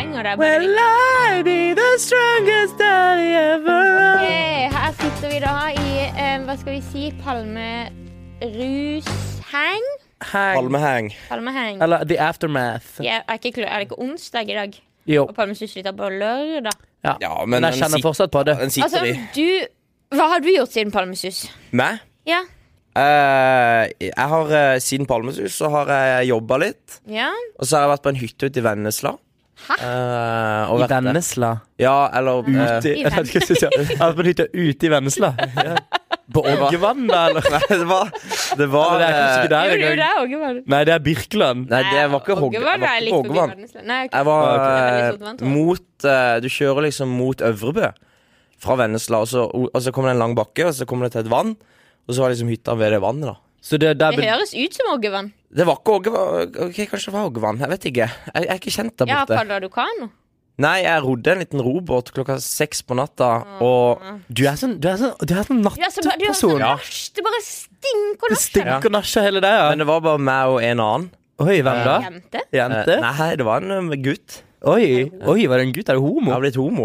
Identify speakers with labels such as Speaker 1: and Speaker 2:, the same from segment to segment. Speaker 1: når jeg bare
Speaker 2: Will I be the strongest daddy ever?
Speaker 3: uh,
Speaker 1: Ok, Her sitter vi da i eh, hva skal vi si, palmerusheng?
Speaker 2: Hang.
Speaker 3: Palmeheng.
Speaker 1: Palmeheng.
Speaker 2: Eller The Aftermath.
Speaker 1: Jeg er, ikke klar, er det ikke onsdag i dag?
Speaker 2: Jo.
Speaker 1: Og palmesus er på lørdag.
Speaker 2: Ja.
Speaker 3: Ja, men
Speaker 2: men jeg
Speaker 3: den
Speaker 2: kjenner
Speaker 3: sitter-
Speaker 2: fortsatt på det.
Speaker 3: Den sitter
Speaker 1: Altså,
Speaker 3: i.
Speaker 1: du Hva har du gjort siden palmesus?
Speaker 3: Meg?
Speaker 1: Ja.
Speaker 3: Eh, jeg har eh, Siden Palmesus så har jeg jobba litt.
Speaker 1: ja.
Speaker 3: Og så har jeg vært på en hytte ute i Vennesla.
Speaker 1: Hæ?
Speaker 3: Eh, og
Speaker 2: I
Speaker 3: vært der.
Speaker 2: Vennesla.
Speaker 3: Ja, eller eh,
Speaker 2: Ute i Vennesla? Jeg har vært på hytta ute i Vennesla. På Ågevann, da, eller?
Speaker 3: Nei, det var
Speaker 2: Ja,
Speaker 3: Det
Speaker 2: men
Speaker 3: var
Speaker 2: det er kanskje ikke
Speaker 3: eh,
Speaker 2: der
Speaker 1: Gjorde du
Speaker 2: engang.
Speaker 1: det, Ågevann?
Speaker 2: Nei, det er Birkeland.
Speaker 3: Nei, det var ikke Hogg-
Speaker 1: Ågevann
Speaker 3: jeg var
Speaker 1: er litt
Speaker 3: ikke
Speaker 1: forbi
Speaker 3: Hoggevann.
Speaker 1: verdensland. Nei, ok.
Speaker 3: Jeg var
Speaker 1: Ja, ok.
Speaker 3: eh, mot eh, Du kjører liksom mot Øvrebø fra Vennesla, og så, og så kommer det en lang bakke, og så kommer det til et vann. Og så var liksom hytta ved det vannet, da.
Speaker 2: Så det, der,
Speaker 1: Det høres ut som Ågevann.
Speaker 3: Det var ikke Ågevann. Ok, kanskje det var Ågevann. Jeg vet ikke. Jeg, jeg er ikke kjent der
Speaker 1: Ja,
Speaker 3: borte.
Speaker 1: padla du kano?
Speaker 3: Nei, jeg rodde en liten robåt klokka seks på natta, og
Speaker 2: du er sånn, du er sånn, du er sånn
Speaker 1: Du altså, er så, du er så
Speaker 2: nattperson.
Speaker 1: nasj. Det bare stinker
Speaker 2: Det
Speaker 1: nasj her.
Speaker 2: stinker nasje hele det, ja.
Speaker 3: Men det var bare meg og en annen.
Speaker 2: Oi, hvem da?
Speaker 1: Jente?
Speaker 2: Jente?
Speaker 3: Eh, Nei, det var en eh, gutt.
Speaker 2: Oi, oi, var det en gutt? Er du
Speaker 3: Jeg
Speaker 2: homo?
Speaker 3: har blitt homo.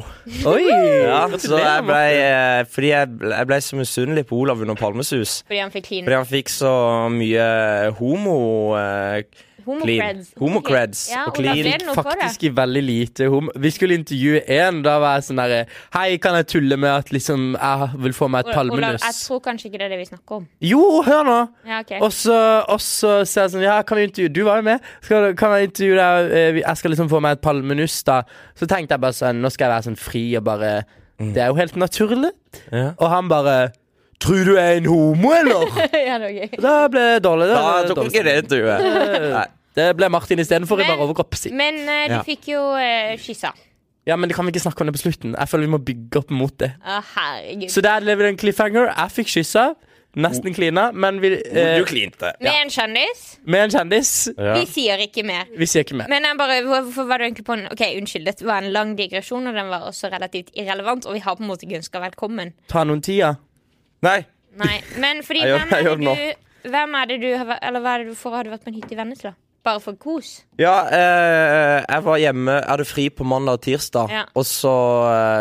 Speaker 2: Oi!
Speaker 3: Ja, så
Speaker 2: Gratulerer,
Speaker 3: jeg ble,
Speaker 2: Martin.
Speaker 3: eh, fordi jeg, ble- jeg ble så misunnelig på Olav under Palmesus.
Speaker 1: Fordi han fikk clean.
Speaker 3: Fordi han fikk så mye homo... eh,
Speaker 1: Homocreds.
Speaker 3: clean. Homocreds
Speaker 1: Ja,
Speaker 3: og
Speaker 1: og da
Speaker 3: clean.
Speaker 1: ble det noe for det.
Speaker 2: Faktisk i veldig lite homo. Vi skulle intervjue én. Da var jeg sånn derre Hei, kan jeg tulle med at liksom jeg vil få meg et
Speaker 1: Olav, Olav, jeg Eh.
Speaker 2: palmenuss?
Speaker 1: tror kanskje ikke det er det vi snakker om.
Speaker 2: Jo, hør nå!
Speaker 1: Ja, ok.
Speaker 2: Og så, og så sier jeg sånn Ja, kan vi intervjue Du var jo med. Skal, kan jeg intervjue deg? Eh, vi- Jeg skal liksom få meg et palmenuss, da. Så tenkte jeg bare sånn Nå skal jeg være sånn fri og bare
Speaker 3: Mm.
Speaker 2: Det er jo helt naturlig.
Speaker 3: Ja.
Speaker 2: Og han bare Tror du jeg er en homo, eller?
Speaker 1: ja, det var gøy.
Speaker 2: Da ble det dårlig.
Speaker 3: Da
Speaker 2: Da, ble det
Speaker 3: tok
Speaker 2: dårlig
Speaker 3: ikke det intervjuet.
Speaker 2: Nei. Det ble Martin istedenfor i
Speaker 1: Men-
Speaker 2: bare overkropp. si.
Speaker 1: Men eh, du
Speaker 3: Ja.
Speaker 1: fikk jo uh, kyssa.
Speaker 2: Ja, men det kan vi ikke snakke om det på slutten. Jeg føler vi må bygge opp mot det.
Speaker 1: Å, herregud.
Speaker 2: Så der lever det en cliffhanger. Jeg fikk kyssa. Nesten klina, men vi, eh,
Speaker 3: Du klinte.
Speaker 1: Med en kjendis.
Speaker 2: med en kjendis.
Speaker 3: Ja.
Speaker 1: Vi sier ikke mer.
Speaker 2: Vi sier ikke mer.
Speaker 1: Men jeg bare, hvorfor var du egentlig på en Ok, unnskyld, dette var en lang digresjon, og den var også relativt irrelevant, og vi har på en måte ikke ønska velkommen.
Speaker 2: Ta noen tida.
Speaker 3: Nei.
Speaker 1: Nei, men fordi
Speaker 3: Jeg gjør-
Speaker 1: hvem
Speaker 3: jeg
Speaker 1: er
Speaker 3: gjør
Speaker 1: det du Hvem er det du har vært Eller hva er det du for har du vært på en hytte i Vennesla? Bare for kos?
Speaker 3: Ja, eh, jeg var hjemme, jeg hadde fri på mandag og tirsdag,
Speaker 1: Ja.
Speaker 3: og så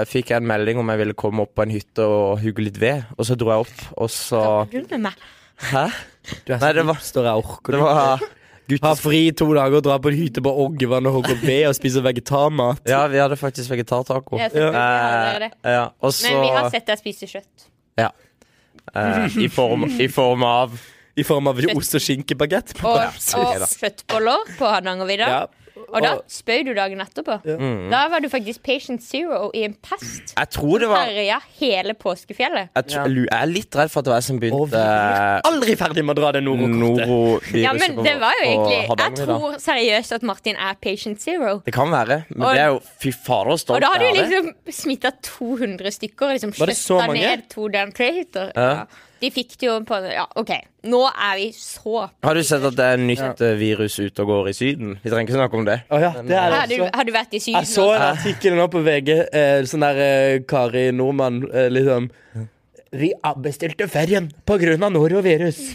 Speaker 3: eh, fikk jeg en melding om jeg ville komme opp på en hytte og hugge litt ved, og så dro jeg opp, og så
Speaker 1: Hva gjør du med meg?
Speaker 3: Hæ?
Speaker 2: Du er
Speaker 3: Nei, det var-
Speaker 2: står jeg orker
Speaker 3: Det var
Speaker 2: Ha fri i to dager, dra på en hytte på Oggevann og hogge ved og spise vegetarmat.
Speaker 3: Ja, vi hadde faktisk vegetartaco.
Speaker 1: Ja, selvfølgelig hadde dere det.
Speaker 3: Eh, ja, og så
Speaker 1: Men vi har sett deg spise kjøtt.
Speaker 3: ja. Eh, i, form, I form av
Speaker 2: I form av ost og skinkebagett.
Speaker 1: Og,
Speaker 3: ok
Speaker 1: og
Speaker 3: da.
Speaker 1: kjøttboller på Hardangervidda.
Speaker 2: Ja.
Speaker 1: Og da spøy du dagen etterpå. Da var du faktisk patient zero i en pest.
Speaker 3: Jeg tror Mm. det var jeg,
Speaker 1: Herja hele påskefjellet.
Speaker 3: tr- lu- jeg er litt redd for at det var jeg som
Speaker 2: Og vi
Speaker 3: begynte eh,
Speaker 2: er aldri ferdig med å dra det norokortet.
Speaker 3: noroviruset
Speaker 1: Ja, men det var jo
Speaker 3: på- på
Speaker 1: egentlig Jeg
Speaker 3: Hardanger, da.
Speaker 1: tror seriøst at Martin er patient zero.
Speaker 3: Det kan være, men
Speaker 1: Og-
Speaker 3: det er jo Fy fader, så
Speaker 1: Og
Speaker 3: stolt
Speaker 1: da har du
Speaker 3: jeg er.
Speaker 1: liksom smitta 200 stykker. Liksom
Speaker 2: Var det så
Speaker 1: skjøtta
Speaker 2: mange?
Speaker 1: ned to damn traitors.
Speaker 3: Ja.
Speaker 1: Ja. De fikk det jo på Ja, OK. Nå er vi så
Speaker 3: Har du sett at det er nytt eh, virus ute og går i Syden? Vi trenger ikke snakke om det.
Speaker 2: Å ja, det er det
Speaker 1: Har du,
Speaker 2: også.
Speaker 1: har du vært i Syden?
Speaker 2: Jeg så en artikkel nå på VG. Eh, sånn der eh, Kari Nordmann, eh, liksom. ah, Vi avbestilte ferien pga. norovirus.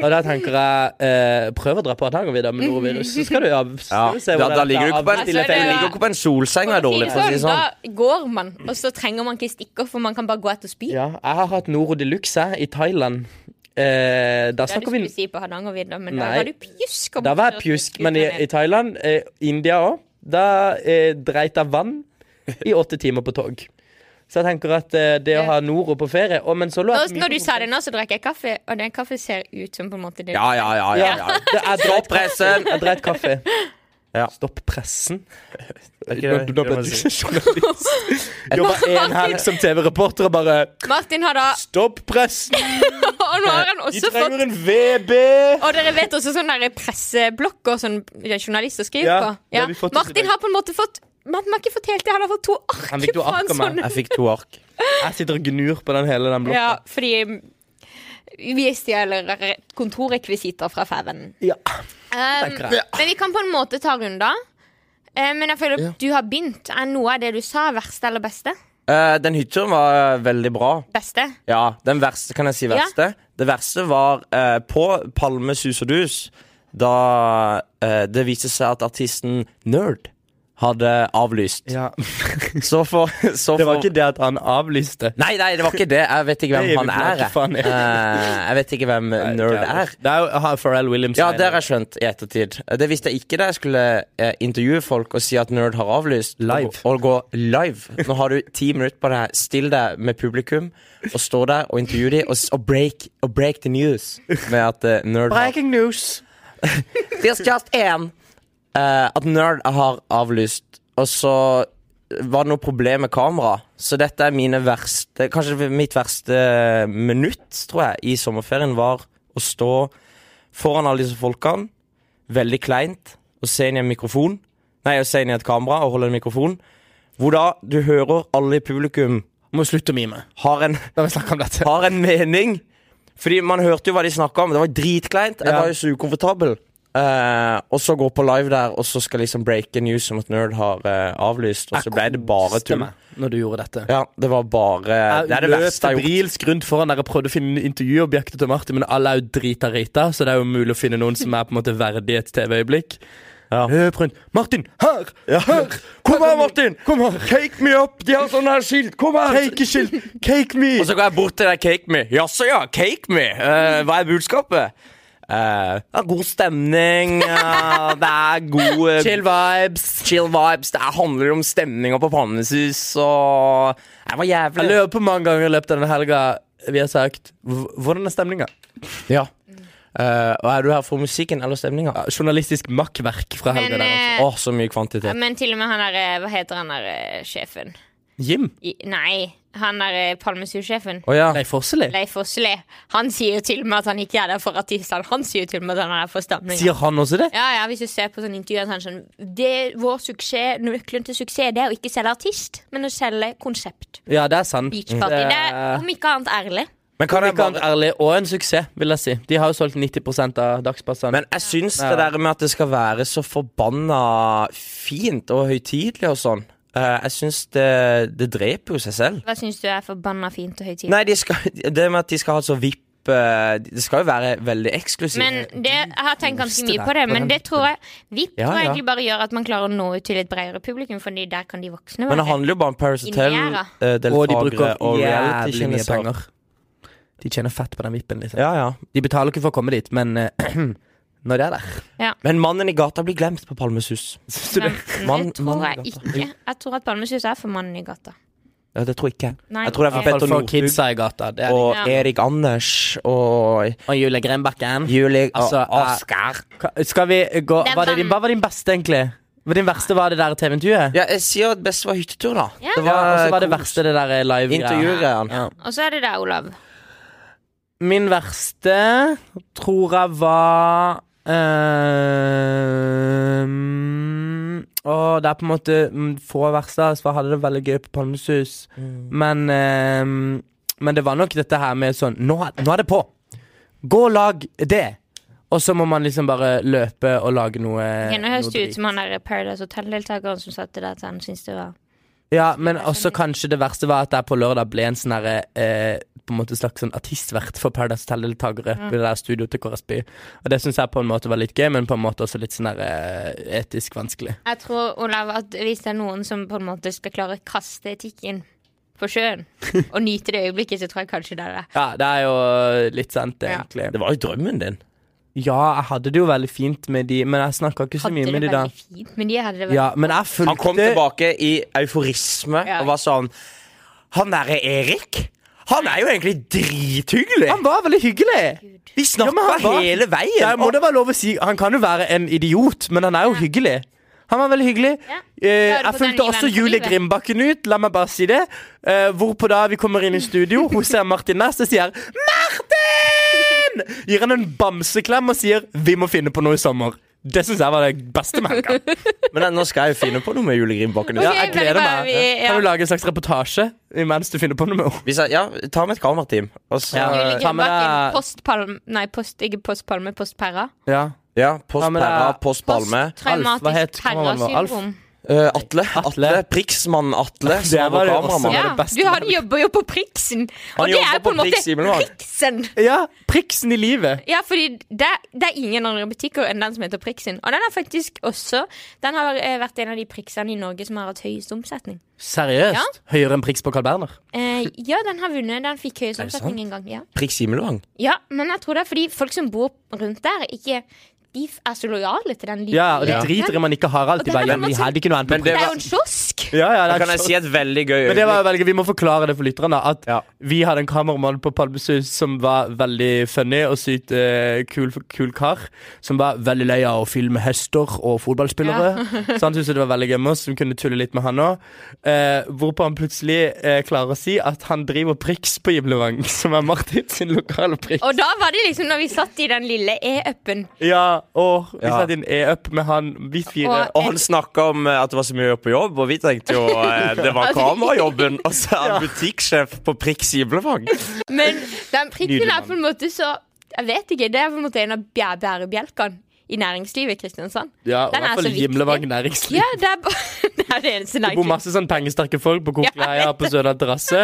Speaker 2: og da tenker jeg eh, Prøv å dra på Hardangervidda med norovirus, så skal du av-
Speaker 3: Ja,
Speaker 2: skal du se
Speaker 3: da,
Speaker 2: hvordan
Speaker 3: da
Speaker 2: dette
Speaker 3: ligger du ikke på en,
Speaker 1: Altså,
Speaker 2: avbestiller
Speaker 1: det
Speaker 3: du
Speaker 2: ferien.
Speaker 3: ligger ikke på en solseng og er dårlig, for å si det sånn.
Speaker 1: Da går man, og så trenger man ikke stikker, for man kan bare gå etter spy.
Speaker 2: Ja, jeg har hatt Noro de Luxe i Thailand. Eh, da
Speaker 1: Det er du
Speaker 2: snakker vi
Speaker 1: skulle si på Hardangervidda, men da
Speaker 2: Nei.
Speaker 1: var du pjusk. og
Speaker 2: Da var jeg
Speaker 1: borte og
Speaker 2: pjusk,
Speaker 1: skulle
Speaker 2: men i,
Speaker 1: ned.
Speaker 2: i Thailand, eh, India òg, da eh, dreit jeg vann i åtte timer på tog. Så jeg tenker at eh, det å ha Noro på ferie Å, men så lå
Speaker 1: Nå,
Speaker 2: jeg på
Speaker 1: når du sa det nå, så drakk jeg kaffe, og den kaffe ser ut som på en måte det
Speaker 3: Ja, ja, ja. ja,
Speaker 2: Ja.
Speaker 3: ja.
Speaker 2: Det er
Speaker 3: Stopp pressen!
Speaker 2: Jeg dreit kaffe.
Speaker 3: Ja.
Speaker 2: Stopp pressen.
Speaker 3: ikke det-
Speaker 2: Nå
Speaker 3: det
Speaker 2: ble
Speaker 3: må
Speaker 2: du
Speaker 3: jeg
Speaker 2: journalist. Jobba en helg som TV-reporter og bare
Speaker 1: Martin har da
Speaker 2: Stopp pressen!
Speaker 1: Og nå har han
Speaker 2: Vi
Speaker 1: også fått
Speaker 2: trenger en VB!
Speaker 1: Og dere vet også sånne der presseblokker sånn, som journalister skriver
Speaker 2: Ja,
Speaker 1: på.
Speaker 2: det har vi fått oss i dag.
Speaker 1: Martin har på en måte fått Martin har ikke fått helt det, han har fått to ark.
Speaker 2: Han fikk to
Speaker 1: fra en
Speaker 2: ark av meg.
Speaker 1: sånn-
Speaker 3: Jeg fikk to ark.
Speaker 2: Jeg sitter og gnur på den hele den blokka.
Speaker 1: Ja, fordi um, vi stjeler kontorrekvisitter fra Fæven.
Speaker 2: Ja.
Speaker 1: Um,
Speaker 2: tenker jeg.
Speaker 1: men vi kan på en måte ta runder. Eh, men jeg føler du har begynt. Er noe av det du sa, verste eller beste?
Speaker 3: Eh, den hytteturen var eh, veldig bra.
Speaker 1: Beste.
Speaker 3: Ja, den verste, kan jeg si verste? Det verste var eh, på Palme sus og dus, da eh, det viste seg at artisten Nerd hadde avlyst.
Speaker 2: Ja.
Speaker 3: Så for, så
Speaker 2: Det var
Speaker 3: for-
Speaker 2: ikke det at han avlyste.
Speaker 3: Nei, nei, det var ikke det. Jeg vet ikke hvem
Speaker 2: Det er jo
Speaker 3: han
Speaker 2: klart
Speaker 3: er. jeg.
Speaker 2: faen er.
Speaker 3: Eh, jeg vet ikke hvem nerd er.
Speaker 2: Det er jo ha, Pharrell Williams.
Speaker 3: Ja, det har jeg skjønt i ettertid. Det visste jeg ikke da jeg skulle eh, intervjue folk og si at nerd har avlyst.
Speaker 2: Live.
Speaker 3: Og, og gå live. Nå har du ti minutter på deg. Still deg med publikum og stå der og intervjue dem, og, s- og, break, og break the news med at eh, nerd har
Speaker 2: Breaking news.
Speaker 3: There's just én. Eh, at nerd har avlyst. Og så var det noe problem med kamera. Så dette er mine verste Kanskje mitt verste minutt, tror jeg, i sommerferien var å stå foran alle disse folkene, veldig kleint, og se inn i en mikrofon. Nei, å se inn i et kamera og holde en mikrofon. Hvor da du hører alle i publikum
Speaker 2: Må slutte å mime.
Speaker 3: har en
Speaker 2: La meg snakke om dette.
Speaker 3: har en mening. Fordi man hørte jo hva de snakka om. Det var dritkleint. Jeg
Speaker 2: Ja.
Speaker 3: var jo så ukomfortabel. Eh, og så gå på live der, og så skal liksom breake news om at Nerd har eh, avlyst. Og så ble det bare tull.
Speaker 2: Stemme, Når du gjorde dette.
Speaker 3: Ja, det var bare Det er det verste jeg har gjort.
Speaker 2: Brilsk rundt foran der jeg prøvde å finne intervjuobjektet til Martin, men alle er jo drita rita, så det er jo mulig å finne noen som er på en måte verdig et TV-øyeblikk.
Speaker 3: Ja.
Speaker 2: Løp rundt. Martin, her! Her!
Speaker 3: Kom her, Martin!
Speaker 2: Kom her!
Speaker 3: Cake me up! De har sånne her skilt! Kom her!
Speaker 2: Cakeskilt! Cake me!
Speaker 3: Og så går jeg bort til deg, cake me. Jaså, ja. Cake me. Eh, hva er budskapet? Eh, det er god stemning. eh, det er god eh,
Speaker 2: Chill vibes.
Speaker 3: chill vibes. Det handler om stemninga på Pannesus og Nei, Det var jævlig.
Speaker 2: Jeg lurer på mange ganger i løpet av denne helga vi har sagt "Hv- Hvordan er stemninga?
Speaker 3: Ja. Eh, og er du her for musikken eller stemninga? Åh,
Speaker 2: Journalistisk makkverk fra helga
Speaker 1: Men,
Speaker 2: der. altså.
Speaker 1: eh,
Speaker 3: så mye kvantitet.
Speaker 1: men til og med han der eh, Hva heter han der eh, sjefen?
Speaker 2: Jim?
Speaker 1: I, nei, han der eh, Palmesus-sjefen.
Speaker 3: Å ja.
Speaker 2: Nei, Fosseli?
Speaker 1: Leif Åsli. Han sier jo til og med at han ikke er der for artistene. Han sier jo til og med at han er der for stamninga.
Speaker 2: Sier han også det?
Speaker 1: Ja, ja, hvis du ser på sånne intervjuer, så er han sånn det, Vår suksess, nøkkelen til suksess det er å ikke selge artist, men å selge konsept.
Speaker 2: Ja, det er sant.
Speaker 1: Beach party. Det
Speaker 2: Eh,
Speaker 1: er om ikke annet ærlig.
Speaker 3: Men kan jeg
Speaker 2: Ikke annet
Speaker 3: bare
Speaker 2: ærlig, og en suksess, vil jeg si. De har jo solgt 90 av dagspassene.
Speaker 3: Men jeg syns det der med at det skal være så forbanna fint og høytidelig og sånn eh, Jeg syns det, det dreper jo seg selv.
Speaker 1: Hva syns du er forbanna fint og høytidelig?
Speaker 3: Nei, de skal, det med at de skal ha så VIP eh, Det skal jo være veldig eksklusivt.
Speaker 1: Men det, Jeg har tenkt ganske mye på det,
Speaker 2: deg på
Speaker 1: men
Speaker 2: den
Speaker 1: det tror jeg VIP
Speaker 3: Ja,
Speaker 1: tror jeg
Speaker 3: ja.
Speaker 1: egentlig bare gjør at man klarer å nå ut til et bredere publikum, Fordi der kan de voksne
Speaker 3: Men det
Speaker 1: være.
Speaker 3: handler jo bare om Paris
Speaker 1: Inni
Speaker 3: Hotel,
Speaker 1: her,
Speaker 3: eh,
Speaker 2: og de bruker
Speaker 3: deltakere og
Speaker 2: jævlig mye
Speaker 3: reality-kjendiser.
Speaker 2: penger. De tjener fett på den vippen. Liksom.
Speaker 3: Ja, ja.
Speaker 2: De betaler ikke for å komme dit, men eh, når det er der
Speaker 3: Men mannen i gata blir glemt på Palmesus.
Speaker 2: Syns du det?
Speaker 1: Men
Speaker 3: Mann-
Speaker 1: det tror
Speaker 3: mannen i
Speaker 1: jeg
Speaker 3: gata.
Speaker 1: ikke. Jeg tror at Palmesus er for mannen i gata.
Speaker 3: Ja, det tror jeg ikke.
Speaker 1: Nei,
Speaker 3: Jeg tror det er
Speaker 1: ikke.
Speaker 3: for
Speaker 2: For,
Speaker 3: Petter
Speaker 2: for
Speaker 3: Northug.
Speaker 2: kidsa i gata. Det er
Speaker 3: Og
Speaker 1: Ja.
Speaker 3: Erik Anders og
Speaker 2: Og Julie Grenbakken.
Speaker 3: Julie
Speaker 2: Altså,
Speaker 3: og Oskar.
Speaker 2: Ka- Skal vi gå
Speaker 1: Det er
Speaker 2: Hva var det din-
Speaker 1: vann.
Speaker 2: hva var din beste, egentlig? Hva Din verste var det der TV-intervjuet?
Speaker 3: Ja, jeg sier at best var hyttetur, da.
Speaker 1: Ja.
Speaker 2: Ja,
Speaker 3: Det var,
Speaker 2: og så var det verste det der live-greia.
Speaker 3: intervjugreiene.
Speaker 2: Ja.
Speaker 1: Og så er det der, Olav.
Speaker 2: Min verste tror jeg var ehm, Å, det er på en måte mm, få verste. Så jeg hadde det veldig gøy på Palmesus. Men, ehm, men det var nok dette her med sånn Nå, er- nå er det på! Gå og lag det! Og så må man liksom bare løpe og lage noe
Speaker 1: Nå
Speaker 2: noe
Speaker 1: høres det ut
Speaker 2: drit.
Speaker 1: som han der Paradise Hotel-deltakeren som satte der at han syntes det var
Speaker 2: Ja, men også kanskje det verste var at jeg på lørdag ble en sånn herre eh, På en måte slags sånn artistvert for Paradise Hotel-deltakere på det der studioet til KRSB. Og det syns jeg på en måte var litt gøy, men på en måte også litt sånn herre eh, etisk vanskelig.
Speaker 1: Jeg tror, Olav, at hvis det er noen som på en måte skal klare å kaste etikken på sjøen og nyte det øyeblikket, så tror jeg kanskje det er det.
Speaker 2: Ja, det er jo litt sant,
Speaker 1: Ja.
Speaker 2: egentlig.
Speaker 3: Det var jo drømmen din.
Speaker 2: Ja, jeg hadde det jo veldig fint med de, men jeg snakka ikke så
Speaker 1: Hadde
Speaker 2: mye
Speaker 1: det
Speaker 2: med de da.
Speaker 1: veldig fint, men de hadde det veldig
Speaker 2: Ja, men jeg fulgte
Speaker 3: Han kom tilbake i euforisme
Speaker 1: Ja.
Speaker 3: og var sånn Han derre Erik, han er jo egentlig drithyggelig!
Speaker 2: Han var veldig hyggelig!
Speaker 3: Vi
Speaker 2: Ja, men
Speaker 3: snakka
Speaker 2: han var-
Speaker 3: hele veien!
Speaker 2: Det må det være lov å si. Han kan jo være en idiot, men han er jo hyggelig. Han var veldig hyggelig.
Speaker 1: Ja. Da har du
Speaker 2: Eh, jeg
Speaker 1: fått
Speaker 2: fulgte
Speaker 1: den i
Speaker 2: også
Speaker 1: venn for
Speaker 2: Julie
Speaker 1: livet.
Speaker 2: Grimbakken ut, la meg bare si det. Eh, hvorpå da vi kommer inn i studio, hun ser Martin Næss og sier 'Martin!' Gir han en bamseklem og sier 'Vi må finne på noe i sommer'. Det syns jeg var det beste med helga.
Speaker 3: Og- Men eh, nå skal jeg jo finne på noe med Julie Grimbakken.
Speaker 2: Ja,
Speaker 1: Ok.
Speaker 3: Ja.
Speaker 2: jeg
Speaker 1: men
Speaker 2: gleder
Speaker 1: da er
Speaker 2: meg.
Speaker 1: vi- ja.
Speaker 2: Kan du lage en slags reportasje mens du finner på noe med henne?
Speaker 3: Hvis jeg, ja, ta med et kamerateam. Og så
Speaker 2: Ja.
Speaker 1: Julie
Speaker 2: eh, ta med
Speaker 1: Grønbakken,
Speaker 2: deg-
Speaker 1: postpalm... Nei, post, ikke postpalme, postperra.
Speaker 2: Ja.
Speaker 3: Ja, post
Speaker 2: Ta med
Speaker 3: Perra,
Speaker 2: deg-
Speaker 3: post Palme.
Speaker 2: Alf, hva het
Speaker 1: Posttraumatisk
Speaker 2: kameraet vår? Alf?
Speaker 1: perra-syndrom.
Speaker 3: Eh, Atle. Atle.
Speaker 2: Atle.
Speaker 3: Priksmann Atle, som
Speaker 2: Det
Speaker 3: var
Speaker 2: var det
Speaker 3: vår kameramann.
Speaker 2: også.
Speaker 1: Ja,
Speaker 2: det beste
Speaker 1: du han jobber jo på Priksen, og
Speaker 3: Han
Speaker 1: det er
Speaker 3: jobber
Speaker 1: på en
Speaker 3: på
Speaker 1: måte
Speaker 3: Prix Himmelvang.
Speaker 1: Priksen.
Speaker 2: Ja, priksen i livet.
Speaker 1: Ja, fordi det, det er ingen andre butikker enn den som heter Priksen. Og den er faktisk også Den har eh, vært en av de priksene i Norge som har hatt høyest omsetning.
Speaker 2: Seriøst?
Speaker 1: Ja.
Speaker 2: Høyere enn priks på Carl Berner?
Speaker 1: Eh,
Speaker 2: Hm.
Speaker 1: ja, den har vunnet. Den fikk høyest
Speaker 3: det
Speaker 1: omsetning en gang. Ja.
Speaker 3: Priks Himmelvang.
Speaker 1: ja, men jeg tror det er fordi folk som bor rundt der, ikke De f- er så lojale til den lille
Speaker 2: Ja, og de
Speaker 3: Ja.
Speaker 2: driter i om man ikke har alt.
Speaker 1: Og
Speaker 2: De
Speaker 1: den
Speaker 2: bare,
Speaker 1: er
Speaker 2: ja,
Speaker 1: på en
Speaker 2: men de
Speaker 1: måte-
Speaker 2: hadde ikke noe annet på
Speaker 3: Men
Speaker 1: Det
Speaker 3: det
Speaker 1: er
Speaker 3: var-
Speaker 1: jo en kiosk!
Speaker 2: priks. Ja, ja, det
Speaker 3: Da
Speaker 2: er
Speaker 3: kan jeg
Speaker 2: så-
Speaker 3: si et veldig gøy
Speaker 2: Men det var
Speaker 3: øyeblikk.
Speaker 2: veldig, Vi må forklare det for lytterne. At
Speaker 3: Ja.
Speaker 2: vi hadde en kameramann på Palmesus som var veldig funny og sykt eh, kul, kul kar. Som var veldig lei av å filme hester og fotballspillere. så han syntes det var veldig gøy med oss, som kunne tulle litt med han òg. Eh, hvorpå han plutselig eh, klarer å si at han driver priks på Gimlevang, som er Martin sin lokale prikk.
Speaker 1: Og da var det liksom når vi satt i den lille e-upen.
Speaker 2: Ja, og vi
Speaker 3: Ja.
Speaker 2: satte inn e-up med han, vi fire.
Speaker 1: Og-
Speaker 3: Og han snakka om eh, at det var så mye å gjøre på jobb, og vi tenkte jo eh, det
Speaker 1: Altså,
Speaker 3: var kamerajobben. Og så er han butikksjef på Priks Himmelvang.
Speaker 1: Men den prikken
Speaker 2: Nydelig
Speaker 1: er på en måte så Jeg vet ikke. Det er på en måte en av bjæ- bærebjelkene i næringslivet i Kristiansand.
Speaker 2: ja, og i
Speaker 1: Den er
Speaker 2: hvert
Speaker 1: så
Speaker 2: fall
Speaker 1: viktig.
Speaker 2: Gimlevang næringsliv.
Speaker 1: Ja, det er, ba- det, er det eneste
Speaker 2: Det bor
Speaker 1: næringslivet.
Speaker 2: masse sånn pengesterke folk på Kokeleia på Sødal terrasse,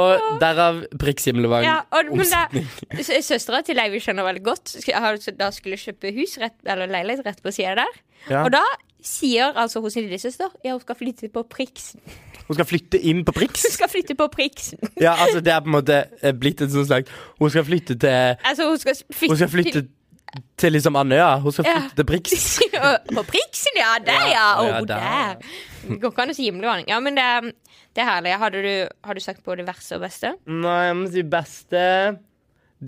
Speaker 2: og derav Priks Himmelvang.
Speaker 1: Ja, og, men da, sø- søstera til Leivi skjønner veldig godt. sk- har- Da skulle kjøpe hus rett, eller leilighet rett på sida der.
Speaker 2: Ja.
Speaker 1: Og da sier altså hun sin lillesøster ja, hun skal flytte på Priksen.
Speaker 2: Hun skal flytte inn på Priks.
Speaker 1: Hun skal flytte på Priksen.
Speaker 2: Ja, altså Det er på en måte eh, blitt en sånn slags Hun skal flytte til
Speaker 1: Altså, hun skal s- flytte,
Speaker 2: Hun skal flytte til liksom Andøya. Hun skal
Speaker 1: Ja.
Speaker 2: flytte til Priks.
Speaker 1: til- Å, På Priksen, ja! Der, ja!
Speaker 2: Ja,
Speaker 1: Å,
Speaker 2: ja, der, ja.
Speaker 1: der. Det går ikke an å si himmelvarning. Ja, men det, er- det er herlig. Hadde du, har du sagt både verste og beste?
Speaker 2: Nei, jeg må si beste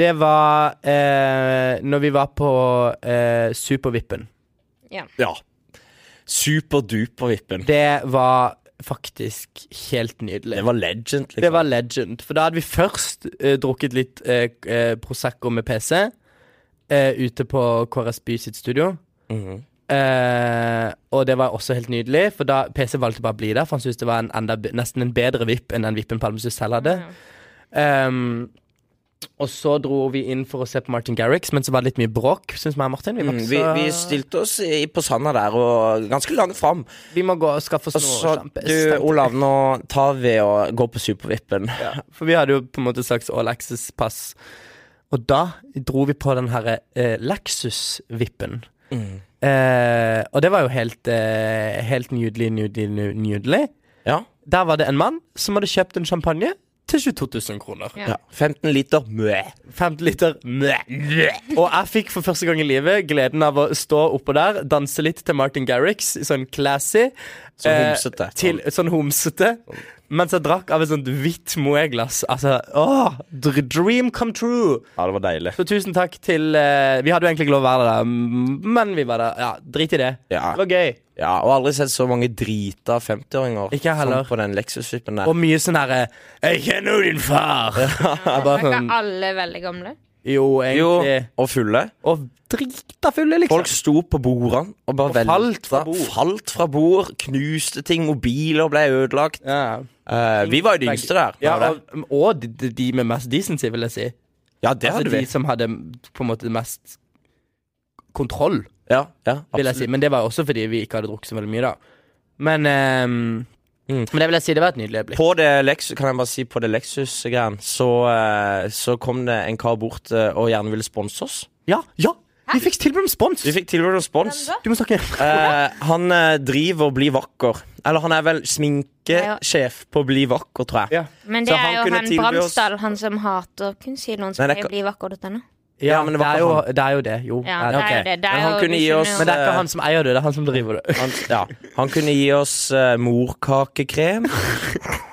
Speaker 2: Det var eh, når vi var på eh, Supervippen.
Speaker 3: Ja. Superduper-vippen.
Speaker 2: Det var faktisk helt nydelig.
Speaker 3: Det var legend,
Speaker 2: Det
Speaker 3: liksom.
Speaker 2: var legend. For da hadde vi først eh, drukket litt eh, k- eh, Prosecco med PC eh, ute på KRS By sitt studio.
Speaker 3: Mhm.
Speaker 2: Eh, og det var også helt nydelig, for da PC valgte bare å bli der, for han syntes det var en enda, be- nesten en bedre vipp enn den vippen Palmesus selv hadde. Ehm, og så dro vi inn for å se på Martin Garrix, men så var det litt mye bråk, syns meg og Martin. Vi, var
Speaker 3: Mm,
Speaker 2: ikke
Speaker 3: vi,
Speaker 2: så-
Speaker 3: vi stilte oss i, på sanda der, og ganske langt fram.
Speaker 2: vi må gå og skaffe
Speaker 3: Og
Speaker 2: oss
Speaker 3: så,
Speaker 2: noe sjampis.
Speaker 3: du,
Speaker 2: tenkte
Speaker 3: Olav, nå tar vi og går på Supervippen.
Speaker 2: Ja, for vi hadde jo på en måte et slags all access-pass. Og da dro vi på den herre eh, Lexus-vippen. Eh, og det var jo helt, eh, helt nydelig, nydelig, nu- nydelig.
Speaker 3: Ja.
Speaker 2: Der var det en mann som hadde kjøpt en champagne til 22 000 kroner.
Speaker 1: Ja.
Speaker 3: ja. 15 liter mø.
Speaker 2: 50 liter. Mæ, mæ. Og jeg fikk for første gang i livet gleden av å stå oppå der, danse litt til Martin Garrix, sånn classy.
Speaker 3: Sånn
Speaker 2: eh,
Speaker 3: homsete.
Speaker 2: Til, sånn homsete. Mens jeg drakk av et sånt hvitt Moët-glass. Altså, åh, dr- dream come true!
Speaker 3: Ja, det var deilig.
Speaker 2: Så tusen takk til eh, Vi hadde jo egentlig ikke lov å være der, m- men vi var der. Ja, drit i det.
Speaker 3: Ja.
Speaker 2: Det var gøy.
Speaker 3: Ja, og aldri sett så mange drita 50-åringer
Speaker 2: Ikke jeg heller.
Speaker 3: som på den Lexus-vippen der.
Speaker 2: Og mye sånn herre Jeg kjenner jo din far! Jeg
Speaker 1: Er
Speaker 2: bare
Speaker 1: ikke
Speaker 2: sånn
Speaker 1: alle veldig gamle?
Speaker 2: Jo,
Speaker 3: Jo,
Speaker 2: egentlig.
Speaker 3: og fulle.
Speaker 2: Og drita fulle, liksom.
Speaker 3: Folk sto på bordene og bare
Speaker 2: Og falt fra
Speaker 3: velta.
Speaker 2: bord.
Speaker 3: Falt fra bord, knuste ting, mobiler ble ødelagt.
Speaker 2: ja.
Speaker 3: Eh, vi var jo de yngste der.
Speaker 2: Ja,
Speaker 3: var det?
Speaker 2: og, mm, og de, de med mest decency, vil jeg si.
Speaker 3: ja det
Speaker 2: Altså
Speaker 3: hadde
Speaker 2: de
Speaker 3: vi.
Speaker 2: som hadde på en måte mest kontroll,
Speaker 3: Ja, ja,
Speaker 2: vil jeg si.
Speaker 3: absolutt.
Speaker 2: Men det var jo også fordi vi ikke hadde drukket så veldig mye, da. Men, ehm, men det vil jeg si, det var et nydelig øyeblikk.
Speaker 3: På det Lexus, kan jeg bare si på det Lexus-greien, så, eh, så kom det en kar bort eh, og gjerne ville sponse oss.
Speaker 2: Ja, ja! Vi fikk tilbud om spons!
Speaker 3: Vi fikk tilbud om spons.
Speaker 1: Hvem da?
Speaker 2: Du må snakke.
Speaker 3: Eh, han eh, driver og blir vakker. Eller han er vel sminkesjef på Bli vakker, tror jeg.
Speaker 2: Ja.
Speaker 1: Men
Speaker 3: Så
Speaker 1: det
Speaker 3: han
Speaker 1: er jo
Speaker 3: kunne
Speaker 1: han
Speaker 3: tilby oss-
Speaker 1: Bramsdal, han som hater kunstkiloen, som
Speaker 3: Nei, det
Speaker 1: pleier å
Speaker 3: er ikke-
Speaker 1: bli vakker.no.
Speaker 2: Ja, men
Speaker 3: men
Speaker 2: det,
Speaker 3: det var
Speaker 2: er
Speaker 3: ikke
Speaker 2: jo, det er jo det. Jo.
Speaker 1: Ja,
Speaker 2: Ja,
Speaker 1: det er
Speaker 3: ok.
Speaker 1: jo det. det
Speaker 3: Men
Speaker 1: er
Speaker 3: han
Speaker 1: jo
Speaker 3: kunne gi
Speaker 1: du
Speaker 3: oss-
Speaker 1: skjønner jo-
Speaker 2: Men det er ikke han som eier det, det er han som driver det.
Speaker 3: Han, ja. han kunne gi oss eh, morkakekrem